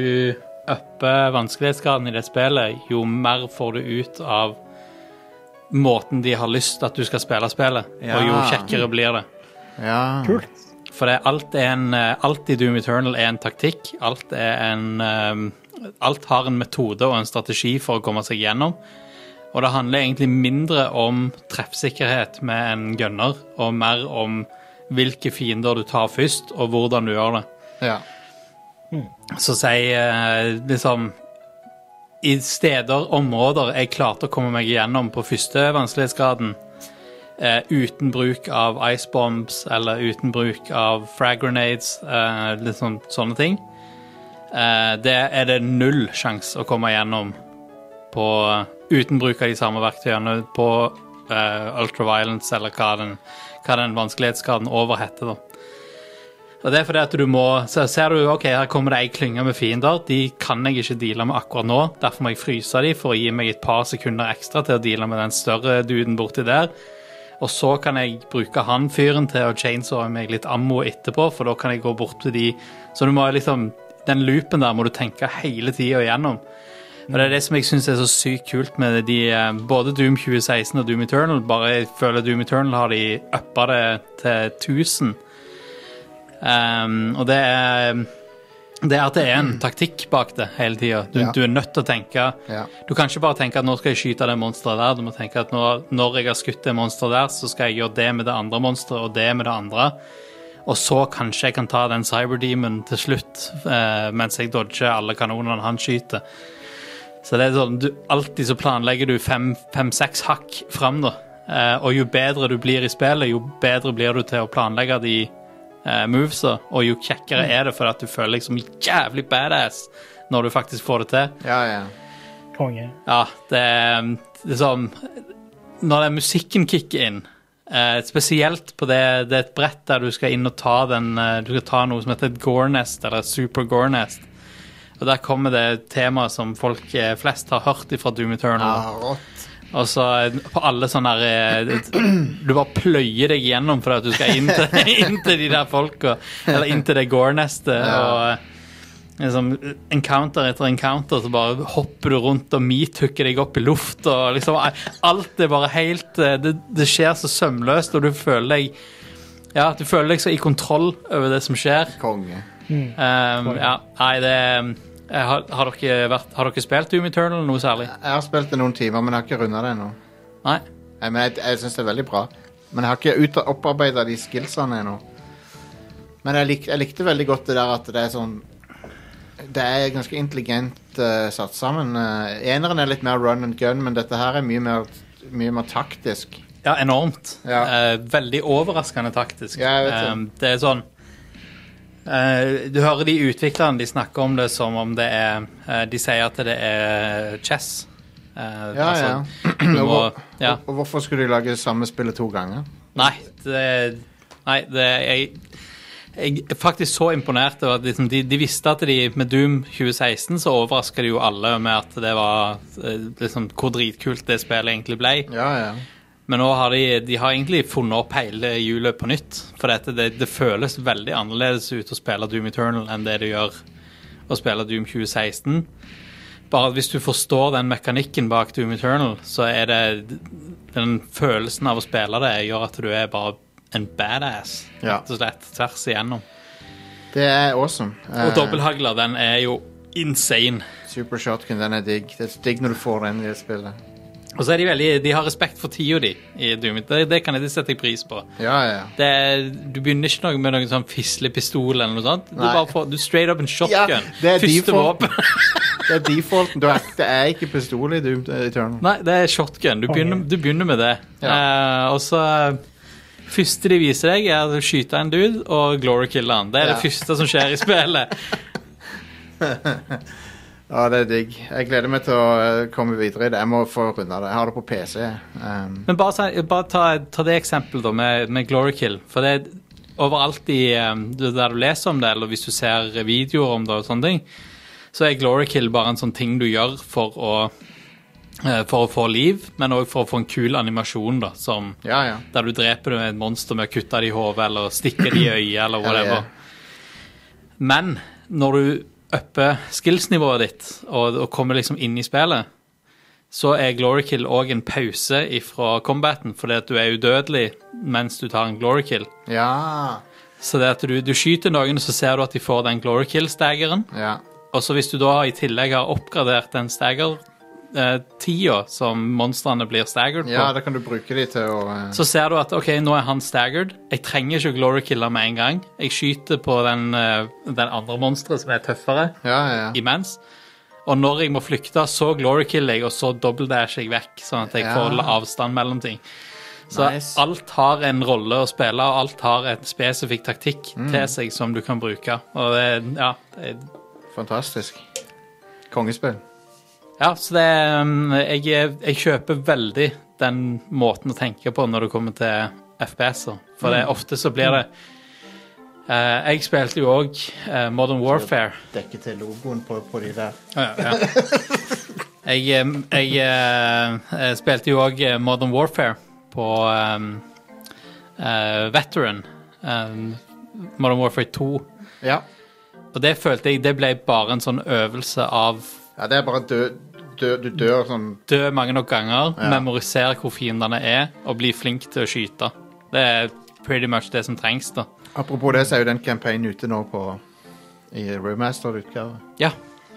upper vanskelighetsgraden i det spillet, jo mer får du ut av måten de har lyst at du skal spille spillet, Ja. og jo kjekkere blir det. ja. Kult. For det, alt, er en, eh, alt i Doom Eternal er en taktikk. Alt, er en, eh, alt har en metode og en strategi for å komme seg gjennom. Og det handler egentlig mindre om treffsikkerhet med en gunner, og mer om hvilke fiender du tar først, og hvordan du gjør det. Ja. Så si eh, liksom I steder, områder jeg klarte å komme meg igjennom på første vanskelighetsgraden eh, uten bruk av ice bombs eller uten bruk av frag grenades, eh, liksom sånne ting. Eh, det er det null sjanse å komme igjennom på eh, uten bruk av de samme verktøyene på eh, ultraviolence eller hva den, hva den vanskelighetsgraden over heter, da. Og det er fordi at du må Så ser du ok, her kommer det ei klynge med fiender. De kan jeg ikke deale med akkurat nå. Derfor må jeg fryse de for å gi meg et par sekunder ekstra til å deale med den større duden borti der. Og så kan jeg bruke han fyren til å chainsawe meg litt ammo etterpå, for da kan jeg gå bort til de Så du må liksom Den loopen der må du tenke hele tida igjennom. Og det er det som jeg syns er så sykt kult med de eh, Både Doom 2016 og Doom Eternal. Bare jeg føler Doom Eternal har de uppa det til 1000. Um, og det er det er at det er en taktikk bak det hele tida. Du, Ja. du er nødt til å tenke Ja. Du kan ikke bare tenke at nå skal jeg skyte det monsteret der. Du må tenke at når, når jeg har skutt det monsteret der, så skal jeg gjøre det med det andre monsteret og det med det andre. Og så kanskje jeg kan ta den cyberdemonen til slutt eh, mens jeg dodger alle kanonene han skyter. Så det er sånn, du, alltid så planlegger du fem-seks hakk fram, da. Eh, og jo bedre du blir i spillet, jo bedre blir du til å planlegge de eh, movesa, og jo kjekkere er det, for at du føler deg som jævlig badass når du faktisk får det til. Ja, ja. Konge. Ja, det er det er sånn Når den musikken kicker inn, eh, spesielt på det, det er et brett der du skal inn og ta den eh, Du skal ta noe som heter et gornest, eller super gornest. Og der kommer det temaet som folk eh, flest har hørt ifra Doom Eternal. Ah, rått. Og så eh, på alle sånne her eh, Du bare pløyer deg gjennom for at du skal inn til, <laughs> inn til de der folka. Eller inn til det gårdnestet. Ja. Og liksom encounter etter encounter, så bare hopper du rundt og meethooker deg opp i luft. Og liksom Alt er bare helt eh, Det, det skjer så sømløst, og du føler deg ja, du føler deg så i kontroll over det som skjer. Konge. Um, ja, nei, det eh, har, har, dere vært, har dere spilt Doom Eternal noe særlig? Jeg har spilt det noen timer, men jeg har ikke runda det ennå. Nei? Nei, men Jeg, jeg syns det er veldig bra. Men jeg har ikke ut- opparbeida de skillsene ennå. Men jeg, lik, jeg likte veldig godt det der at det er sånn det er ganske intelligent eh, satt sammen. Eh, eneren er litt mer run and gun, men dette her er mye mer, mye mer taktisk. Ja, enormt. Ja. Eh, veldig overraskende taktisk. Ja, jeg vet det. Eh, det er sånn eh, Du hører de utviklerne de snakker om det som om det er eh, De sier at det er chess. Eh, Ja, altså, ja. Du Og, må, hvor- ja. og hvorfor skulle de lage samme spillet to ganger? Nei, det, nei, det jeg, jeg er faktisk så imponert over at liksom, de, de visste at de med Doom 2016 så overraska de jo alle med at det var eh, liksom, hvor dritkult det spillet egentlig ble. Ja, ja. Men nå har de, de har egentlig funnet opp hele hjulet på nytt. For dette, det, det føles veldig annerledes ut å spille Doom Eternal enn det det gjør å spille Doom 2016. Bare at hvis du forstår den mekanikken bak Doom Eternal, så er det den følelsen av å spille det gjør at du er bare en badass, Ja. rett og slett. Tvers igjennom. Det er awesome. Eh, Og dobbelthagla, den er jo insane. Super shotgun, den er digg. Det er digg når du får den i det spillet. Og så er de veldig De har respekt for tida di i Doom. Det, det kan jeg det setter jeg pris på. Ja, ja. det er, du begynner ikke noe med noen sånn fislepistol eller noe sånt. Du Nei. bare får du straight up en shotgun. Ja, det er Første default. våpen. <laughs> Det er defaulten. Du er, det er ikke pistol i Doom Eternal. Nei, det er shotgun. Du begynner, du begynner med det. Eh, og så første de viser deg, er at du skyter en dude og glory killer han. Det er Ja. det første som skjer i <laughs> spillet. Ja, det er digg. Jeg gleder meg til å eh, komme videre i det. Jeg må få runda det. Jeg har det på PC. Um, Men bare, si- bare ta, ta det eksempelet da med, med glory kill. For det er overalt i eh, det der du leser om det, eller hvis du ser videoer om det, og sånne ting, så er glory kill bare en sånn ting du gjør for å eh, for å få liv, men òg for å få en kul animasjon, da, som, ja, ja. der du dreper et monster med å kutte det i hodet eller stikke det i øyet eller whatever. Eller- Men når du upper skills-nivået ditt og, og kommer liksom inn i spillet, så er glory kill òg en pause ifra combaten, fordi at du er udødelig mens du tar en glory kill. Ja. Så det at du, du skyter noen, så ser du at de får den glory kill-staggeren. ja. Og så hvis du da i tillegg har oppgradert den stagger-tida som monstrene blir staggered på, Ja, da kan du bruke de til å eh, så ser du at ok, nå er han staggered. Jeg trenger ikke å glory killer med en gang. Jeg skyter på den, eh, den andre monsteret som er tøffere, Ja, ja. ja. imens. Og når jeg må flykte, så glory killer jeg, og så dobbeltdasher jeg vekk, sånn at jeg Ja. får avstand mellom ting. Så Nice. alt har en rolle å spille, og alt har en spesifikk taktikk Mm. til seg som du kan bruke. Og det, ja, det, Fantastisk. Kongespill. ja, så det um, jeg, er- jeg kjøper veldig den måten å tenke på når det kommer til FPS-er. For det, ofte så blir det Eh, Jeg spilte jo òg Modern Warfare. Dekke til logoen på, de der. Jeg, em, jeg eh, eh, spilte jo òg Modern Warfare på em, eh, Veteran. em, Modern Warfare 2. Ja. Og det følte jeg det ble bare en sånn øvelse av ja, det er bare dø, dø, Du dør sånn dø mange nok ganger, Ja. memorisere hvor fiendene er, og bli flink til å skyte. Det er pretty much det som trengs, da. Apropos det, så er jo den campaignen ute nå på i remastered-utgave. Ja,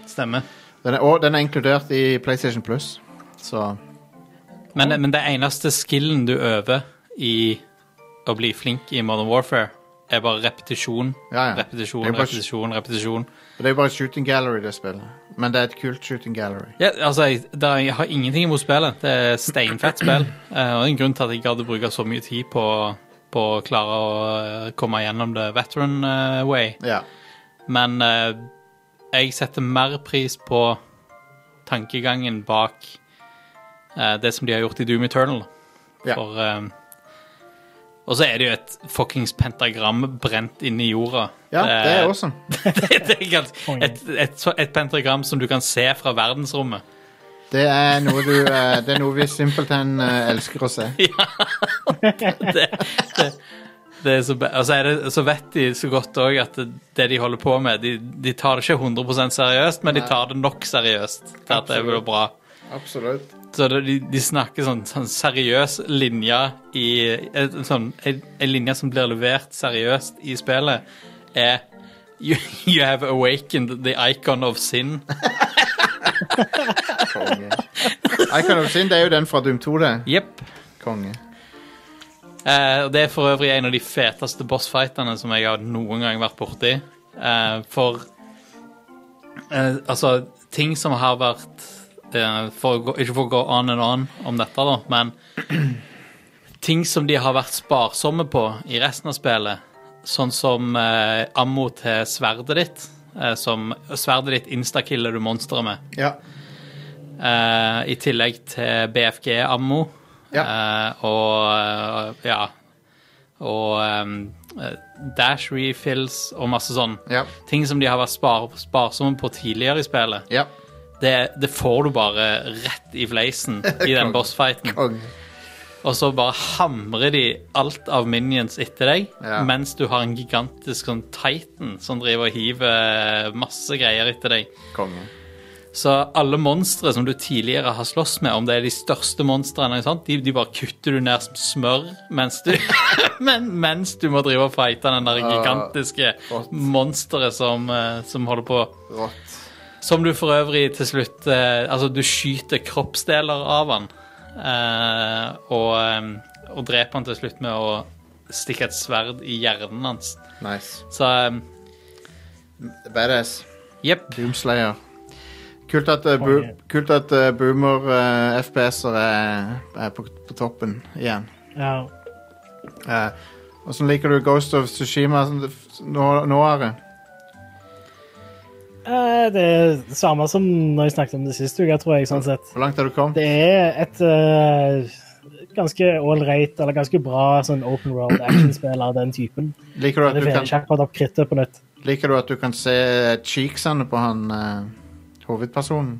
stemmer. Den er, og den er inkludert i PlayStation Plus, så Men, men det eneste skillen du øver i å bli flink i Modern Warfare, er bare repetisjon, Ja, ja. repetisjon, Det er bare- repetisjon, repetisjon. Det er jo bare et shooting gallery, det spillet. Men det er et kult shooting gallery. Ja, altså, jeg, det er, jeg har ingenting imot spillet. Det er <clears throat> steinfett spill. eh, Og det er en grunn til at jeg gadd å bruke så mye tid på, på å klare å eh, komme gjennom det veteran eh, way. Ja. Men eh, jeg setter mer pris på tankegangen bak eh, det som de har gjort i Doom Eternal. Ja. For, eh, og så er det jo et fuckings pentagram brent inn i jorda. ja, det er Eh, awesome. <laughs> det er gans- et, et, så- et pentagram som du kan se fra verdensrommet. Det er noe, du, eh, det er noe vi simpelthen eh, elsker å <laughs> se. Det er så, be- altså er det, så vet de så godt òg at det, det de holder på med De, de tar det ikke 100 seriøst, men de tar det nok seriøst til at det blir bra. Absolutt. Så det- de, de snakker sånn, sånn seriøs linje i en sånn, en, en linje som blir levert seriøst i spillet, er You, you have awakened the icon of sin. Konge. Icon of Sin, det er jo den fra Doom 2, det. Jepp. Konge. Eh, og det er for øvrig en av de feteste bossfightene som jeg har noen gang vært borti. Eh, for eh, altså, ting som har vært eh, for å gå, Ikke for å gå on and on om dette, da, men <clears throat> ting som de har vært sparsomme på i resten av spillet, sånn som eh, ammo til sverdet ditt, eh, som sverdet ditt instakiller du monsteret med. Ja. Eh, I tillegg til BFG-ammo. Eh, og eh, ja. Og eh, dash refills og masse sånn. Ja. Ting som de har vært spar sparsomme på tidligere i spillet. ja. Det, det får du bare rett i fleisen <laughs> i den Konge. bossfighten. Konge. Og så bare hamrer de alt av minions etter deg, Ja. mens du har en gigantisk sånn titan som driver og hiver masse greier etter deg. Konge. Så alle monstre som du tidligere har slåss med, om det er de største monstrene, ikke sant? De, de bare kutter du ned som smør mens du, <laughs> men, mens du må drive og fighte den der gigantiske rått. monsteret som, eh, som holder på. Rått. Som du for øvrig til slutt eh, Altså, du skyter kroppsdeler av han, eh, og, eh, og dreper han til slutt med å stikke et sverd i hjernen hans. Nice. Så eh, Badass. jepp. Doomslayer. Kult at, eh, bo Konge. kult at eh, boomer eh, FPS-er er, er på, på toppen igjen. Ja. Eh, Åssen liker du Ghost of Tsushima som det f- nå, nå er det? Eh, Det er det samme som når jeg snakket om det siste uka, tror jeg, sånn sett. Hvor langt har du kommet? Det er et eh, ganske ålreit, eller ganske bra sånn open world actionspill av den typen. Liker du, at Det du får kan, ikke akkurat opp krittet på nytt. liker du at du kan se cheeksene på han eh, hovedpersonen?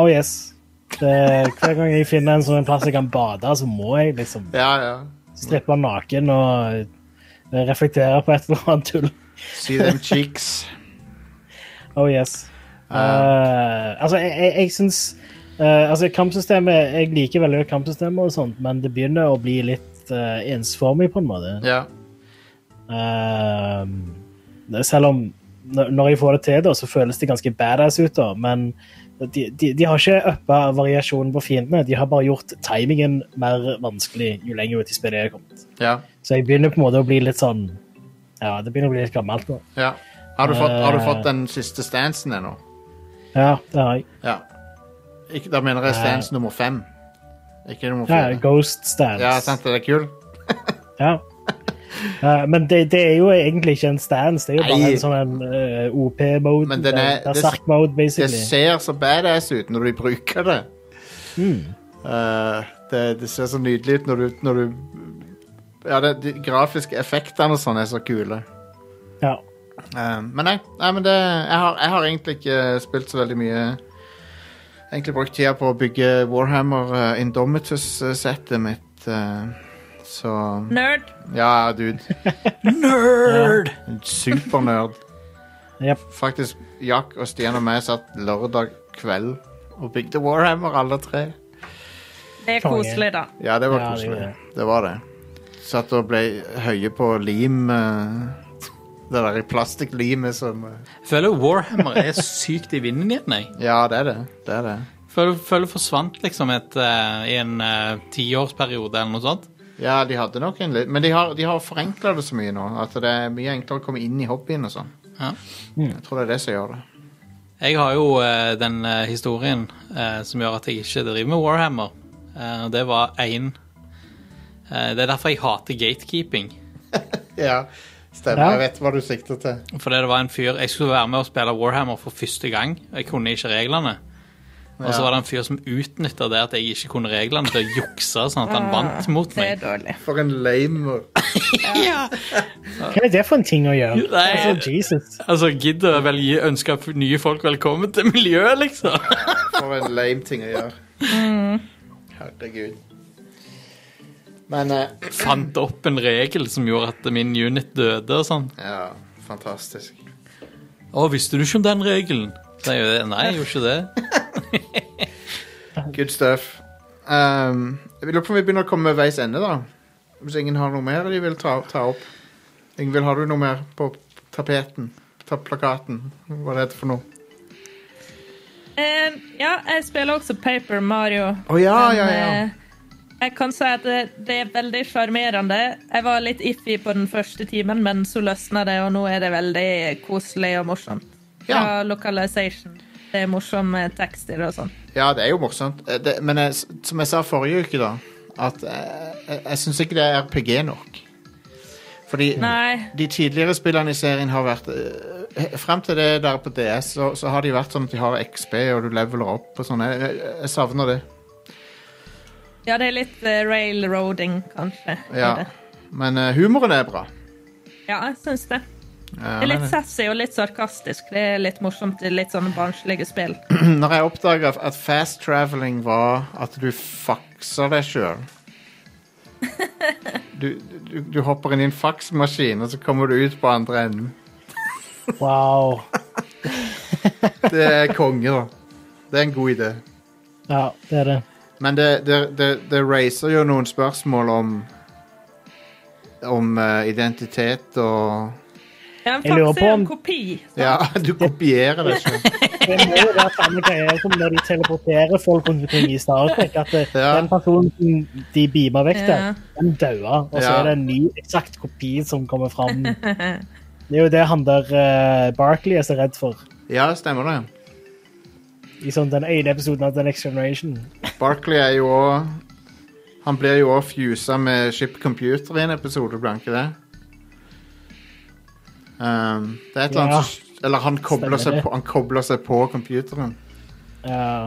Oh yes. Det, hver gang jeg finner en sånn plass jeg kan bade, så må jeg liksom Ja, ja. strippe naken og reflektere på et eller annet tull. See them <laughs> cheeks. Oh yes. Eh, altså, jeg, jeg, jeg syns eh, Altså, kampsystemet Jeg liker veldig godt kampsystemet og sånt, men det begynner å bli litt eh, ensformig, på en måte. Ja. Eh, selv om når når jeg får det til, da, så føles det ganske badass ut, da, men de, de, de har ikke uppa variasjonen på fiendene. De har bare gjort timingen mer vanskelig jo lenger ut i spillet jeg har kommet. ja. Så jeg begynner på en måte å bli litt sånn Ja, det begynner å bli litt gammelt nå. ja. Har, du fått, har du fått Eh. den siste stansen ennå? Ja, det har jeg. Ja. Ikke, da mener jeg stans nummer fem. Ikke nummer Ja, fire. ghost stance. Ja, sant, det er kul? Ja. <laughs> Eh, men det, det er jo egentlig ikke en stance, det er jo bare Nei. en sånn en eh, OP-mode. Men den er- det er Sark eh, mode, Det basically. ser så badass ut når de bruker det. Eh, det, det ser så nydelig ut når du, når du Ja, det, de grafiske effektene og sånn er så kule. Ja. Eh, men nei, nei men det, jeg, har, jeg har egentlig ikke spilt så veldig mye Egentlig brukt tida på å bygge Warhammer uh, Indomitus-settet mitt. eh, så Nerd. Ja, dude. Nerd! En Supernerd. Jep. Faktisk, Jack og Stian og meg satt lørdag kveld og bygde Warhammer, alle tre. Det er Konge. koselig, da. Ja, det var Ja, det koselig. gjorde det. Det, var det. Satt og ble høye på lim. eh, det der plastikklimet som eh, Jeg føler Warhammer er sykt i vinden igjen, jeg. Ja, det er det. Det er det. Føler, føler forsvant liksom et, eh, i en eh, tiårsperiode eller noe sånt. Ja, de hadde nok en litt Men de har, de har forenkla det så mye nå at det er mye enklere å komme inn i hobbyen og sånn. Ja. Jeg tror det er det som gjør det. Jeg har jo eh, den eh, historien eh, som gjør at jeg ikke driver med Warhammer. Eh, og det var én Det er derfor jeg hater gatekeeping. Ja, stemmer. Ja. Jeg vet hva du sikter til. Fordi det var en fyr Jeg skulle være med og spille Warhammer for første gang, og jeg kunne ikke reglene. Og så Ja. var det en fyr som utnytta det at jeg ikke kunne reglene, til å jukse sånn at han vant mot Mm. Det er meg. dårlig. For en lame Ja. Hva er det for en ting å gjøre? Nei. Altså, Jesus. Altså, gidd å vel gi- ønske f- nye folk velkommen til miljøet, liksom. For en lame ting å gjøre. Herregud. Men eh, Fant opp en regel som gjorde at min unit døde og sånn. Ja, fantastisk. Å, visste du ikke om den regelen? Så jeg, gjorde det. nei, jeg gjorde ikke det. Good stuff. Um, jeg lurer på om vi begynner å komme ved veis ende, da. Hvis ingen har noe mer de vil ta, ta opp. Ingvild, har du noe mer på tapeten? Ta plakaten? Hva er det for noe? Eh, ja, jeg spiller også Paper Mario. Å ja, Men, ja, ja. eh, Jeg kan si at det, det er veldig sjarmerende. Jeg var litt iffy på den første timen, men så løsna det, og nå er det veldig koselig og morsomt. fra Ja. localization. Det er morsomme tekster og sånn. Ja, det er jo morsomt. Eh, Det, men jeg, som jeg sa forrige uke, da, at jeg, jeg, jeg syns ikke det er RPG nok. Fordi Nei. de tidligere spillene i serien har vært eh, Frem til det der på DS, så, så har de vært sånn at de har XB, og du leveler opp og sånn. Jeg, jeg, jeg savner det. Ja, det er litt eh, railroading, kanskje. i Ja. det. Men eh, humoren er bra. <clears throat> ja jeg syns det. Ja, Det er men- litt sassy og litt sarkastisk. Det er litt morsomt i litt sånne barnslige spill. Når jeg oppdaga at fast traveling var at du fakser deg sjøl <laughs> du, du, du hopper inn i en faksmaskin, og så kommer du ut på andre enden. Wow. Det er konge, da. Det er en god idé. Ja, det er det. Men det, det, det, det raiser jo noen spørsmål om om eh, identitet og Ja, en Jeg lurer faks er på jo om- en kopi. Ja, <laughs> du kopierer deg sjøl. Det må jo være samme greie som når de teleporterer folk rundt omkring i Star Trek. At det, Ja. den personen som de beamer vekk der, Ja. den dauer. Og så Ja. er det en ny eksakt kopi som kommer fram. Det er jo det han der eh, Barkley er så redd for. Ja, stemmer det. I sånn den ene episoden av The Next Generation. Barkley er jo òg Han blir jo òg fusa med Ship Computer i en episode, blir han ikke det? Um, det er et eller Ja. annet som- Eller han kobler, Stemmer seg det. på, han kobler seg på computeren. Ja.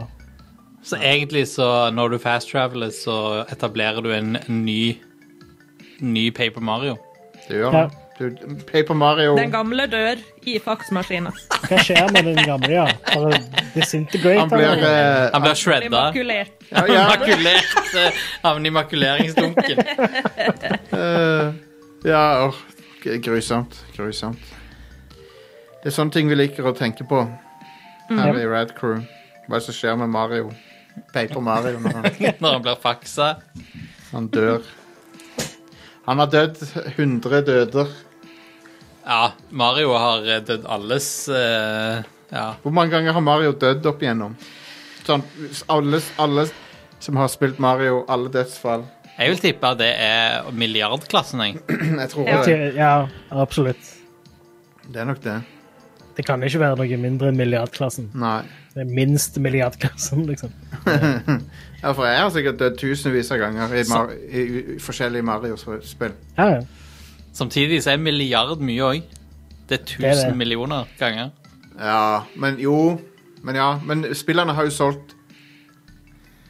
Så egentlig, så når du fast-traveler, så etablerer du en ny, ny Paper Mario. Det gjør Ja. han. Du, Paper Mario Den gamle dør i faksmaskina. Hva skjer med den gamle, ja? Bare disintegrate Han blir han? eh, Han blir Blir shredda. makulert. ja, ja, Makulert. <laughs> eh, Havner i makuleringsdunken. eh, ja, åh, g- grusomt. Grusomt. Det er sånne ting vi liker å tenke på her i Rad Crew. Hva er det som skjer med Mario? Paper Mario når han <laughs> Når han blir faksa. Han dør. Han har dødd 100 døder. Ja, Mario har eh, dødd alles eh, Ja. Hvor mange ganger har Mario dødd opp igjennom? Sånn, alle, alle som har spilt Mario, alle dødsfall. <clears throat> Jeg vil tippe at det er milliardklassen, jeg. Jeg tror Ja. det. Ja, absolutt. Det er nok det. Det kan ikke være noe mindre enn milliardklassen. Nei. Det er minst milliardklassen, liksom. Ja, for jeg har sikkert dødd tusenvis av ganger i, Mar i, i forskjellige Mario-spill. Ja, ja. Samtidig så er milliard mye òg. Det er er det. tusen millioner ganger. Ja, men jo Men ja, men spillerne har jo solgt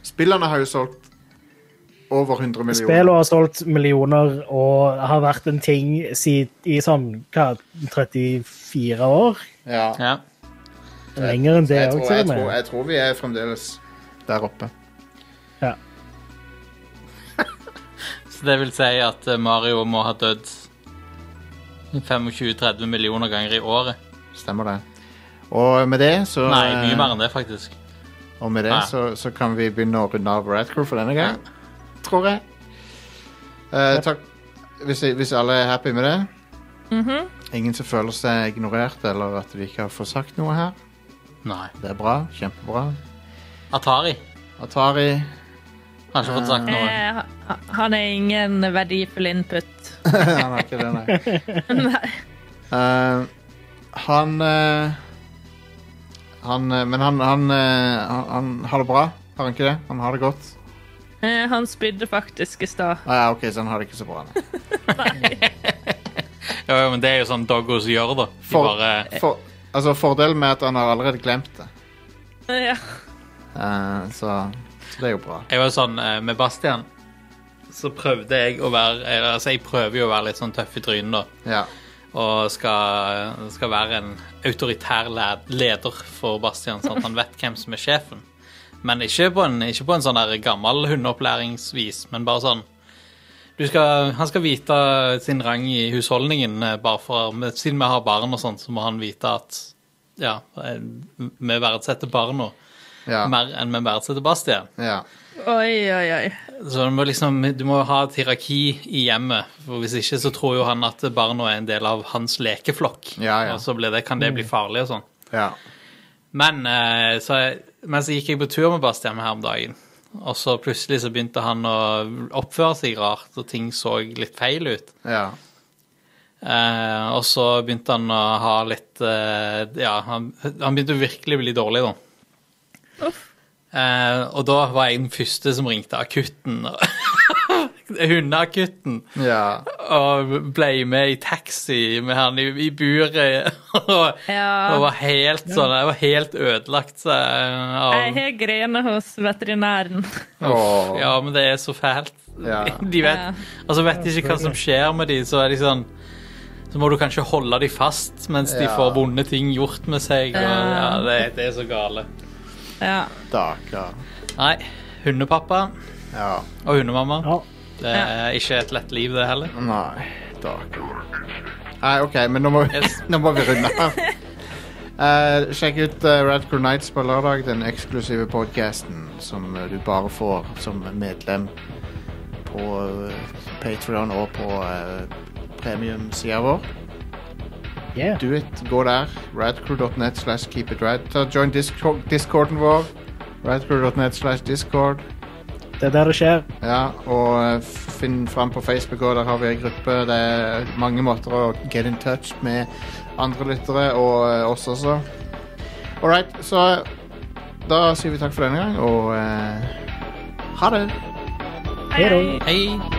Spillerne har jo solgt over 100 Spillet millioner. har solgt millioner og har vært en ting si- i sånn hva, 34 år? Ja. Ja. Lenger enn det Jeg òg, tror, jeg, til og tror, med. jeg tror vi er fremdeles der oppe. Ja. Så det vil si at eh, Mario må ha dødd 25-30 millioner ganger i året. Stemmer det. Og med det så Nei, mye mer enn det, faktisk. Og med det Nei. så, så kan vi begynne å runde av Radcrew for denne gang. Tror jeg. Eh, takk hvis, hvis alle er happy med det. Ingen som føler seg ignorert eller at de ikke har fått sagt noe her. Nei. Det er bra. Kjempebra. Atari Atari har ikke fått sagt noe. Eh, ha- han er ingen verdifull input. Han har ikke det, nei. <laughs> Eh, han eh, Han eh, Men han, han, eh, han Han har det bra, har han ikke det? Han har det godt? Eh, han spydde faktisk i stad. Ah, ja, OK, så han har det ikke så bra. Nei. Jo, jo, men det er jo sånn doggos gjør, da. De For- bare For, altså, fordelen med at han har allerede glemt det. Eh, Ja. Eh, så, så det er jo bra. Jeg var jo sånn eh, med Bastian så prøvde jeg å være eller, Altså, jeg prøver jo å være litt sånn tøff i trynet, da. Ja. Og skal, skal være en autoritær le- leder for Bastian, sånn at han vet hvem som er sjefen. Men ikke på en, ikke på en sånn der gammel hundeopplæringsvis, men bare sånn du skal, Han skal vite sin rang i husholdningen, eh, bare for men Siden vi har barn og sånn, så må han vite at Ja, eh, vi verdsetter barna Ja. mer enn vi verdsetter Bastian. ja. Oi, oi, oi. Så du må liksom, du må ha et hierarki i hjemmet, for hvis ikke så tror jo han at barna er en del av hans lekeflokk, Ja, ja. og så blir det, kan det bli farlig og sånn. ja. Men eh, så, men så gikk jeg på tur med Bastian her om dagen, og så plutselig så begynte han å oppføre seg rart, og ting så litt feil ut. ja. Eh, Eh, og så begynte han å ha litt eh, Ja, han, han begynte å virkelig bli dårlig, da. Eh, og da var jeg den første som ringte akutten. <laughs> Hundeakutten. Ja. Og ble med i taxi med han i, i buret. <laughs> og, Ja. og var helt sånn Jeg var helt ødelagt. Så, eh, Jeg av, har grener hos veterinæren. Åh. ja, men det er så fælt. Ja. <laughs> De vet, Ja. altså vet de ikke hva som skjer med de, så er de sånn Så må du kanskje holde de fast mens de Ja. får vonde ting gjort med seg. Og, ja, Ja. det, det er så gale. Ja. Stakkar. Nei. Hundepappa Ja. og hundemamma. Ja. Det er ikke et lett liv, det heller. Nei. Stakkar. Nei, OK, men nå må, vi- Yes. <laughs> nå må vi runde av. Eh, sjekk ut uh, Radcore Nights på lørdag, den eksklusive podkasten som eh, du bare får som medlem på uh, Patrion og på uh, premiumsida vår. Yeah. Do it. Gå der. Radcrew.net slash keep it rad. Ta- Join disco discorden vår. Radcrew.net slash discord. Det er der det skjer. Ja, og eh, finn fram på Facebook, og der har vi en gruppe. Det er mange måter å get in touch med andre lyttere, og eh, oss også. All right, så da sier vi takk for denne gang, og eh, ha det. Hei da. Hei!